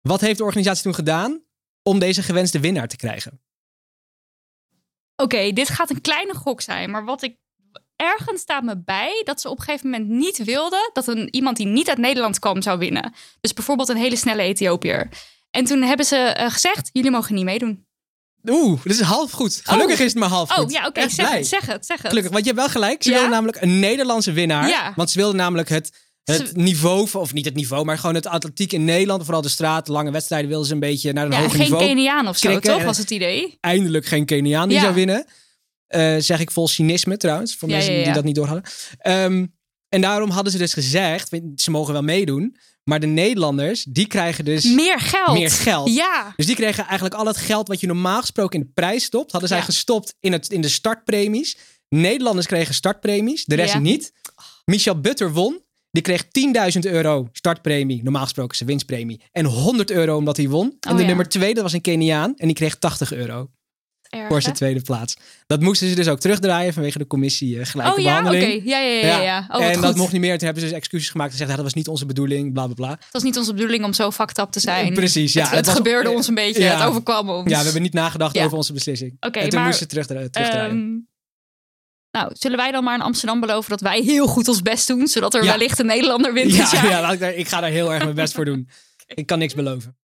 S2: wat heeft de organisatie toen gedaan om deze gewenste winnaar te krijgen?
S1: Oké, dit gaat een kleine gok zijn. Maar wat ik. Ergens staat me bij dat ze op een gegeven moment niet wilden dat een, iemand die niet uit Nederland kwam zou winnen. Dus bijvoorbeeld een hele snelle Ethiopiër. En toen hebben ze eh, gezegd: jullie mogen niet meedoen.
S2: Oeh, dit is half goed. Gelukkig
S1: Oh.
S2: is het maar half goed.
S1: Oh ja, oké,
S2: Echt
S1: zeg
S2: blij.
S1: het, zeg het, zeg het.
S2: Gelukkig, want je hebt wel gelijk. Ze
S1: Ja?
S2: wilden namelijk een Nederlandse winnaar.
S1: Ja.
S2: Want ze wilden namelijk het, het
S1: Ze-
S2: niveau, van- of niet het niveau, maar gewoon het atletiek in Nederland. Vooral de straat, lange wedstrijden wilden ze een beetje naar een
S1: Ja, en
S2: hoger
S1: geen
S2: niveau. eh,
S1: Keniaan of zo,
S2: Krikken
S1: toch?
S2: en-
S1: Was het idee?
S2: Eindelijk geen Keniaan die
S1: Ja.
S2: zou winnen. Eh, zeg ik vol cynisme trouwens, voor
S1: Ja,
S2: mensen
S1: ja, ja.
S2: die dat niet doorhadden. Ehm, en daarom hadden ze dus gezegd, ze mogen wel meedoen. Maar de Nederlanders, die krijgen dus
S1: Meer geld.
S2: meer geld.
S1: Ja.
S2: Dus die kregen eigenlijk al het geld wat je normaal gesproken in de prijs stopt, hadden zij
S1: Ja.
S2: gestopt in, het, in de startpremies. Nederlanders kregen startpremies, de rest
S1: Ja.
S2: niet. Michel Butter won. Die kreeg 10.000 euro startpremie, normaal gesproken zijn winstpremie. En 100 euro omdat hij won. en
S1: Oh,
S2: de
S1: ja.
S2: nummer twee, dat was een Keniaan. En die kreeg 80 euro
S1: Erg,
S2: voor
S1: hè?
S2: zijn tweede plaats. Dat moesten ze dus ook terugdraaien vanwege de commissie eh, gelijke
S1: Oh ja, oké.
S2: behandeling.
S1: Ja, ja, ja, ja. ja. Oh, wat
S2: en
S1: goed.
S2: dat mocht niet meer. Toen hebben ze dus excuses gemaakt en gezegd, "Ja, dat was niet onze bedoeling, bla bla bla.
S1: Het was niet onze bedoeling om zo fucked up te zijn.
S2: Precies, ja.
S1: het,
S2: dat
S1: het
S2: was-
S1: gebeurde ons een beetje.
S2: Ja.
S1: Het overkwam ons.
S2: Ja, we hebben niet nagedacht
S1: Ja.
S2: over onze beslissing.
S1: Oké,
S2: en toen
S1: maar-
S2: moesten ze terug, terugdraaien.
S1: Ehm, nou, zullen wij dan maar in Amsterdam beloven dat wij heel goed ons best doen, zodat er
S2: Ja.
S1: (laughs) wellicht een Nederlander wint dit
S2: ja,
S1: jaar? (laughs)
S2: ja laat ik, daar, ik ga daar heel erg mijn best voor doen. Ik kan niks beloven.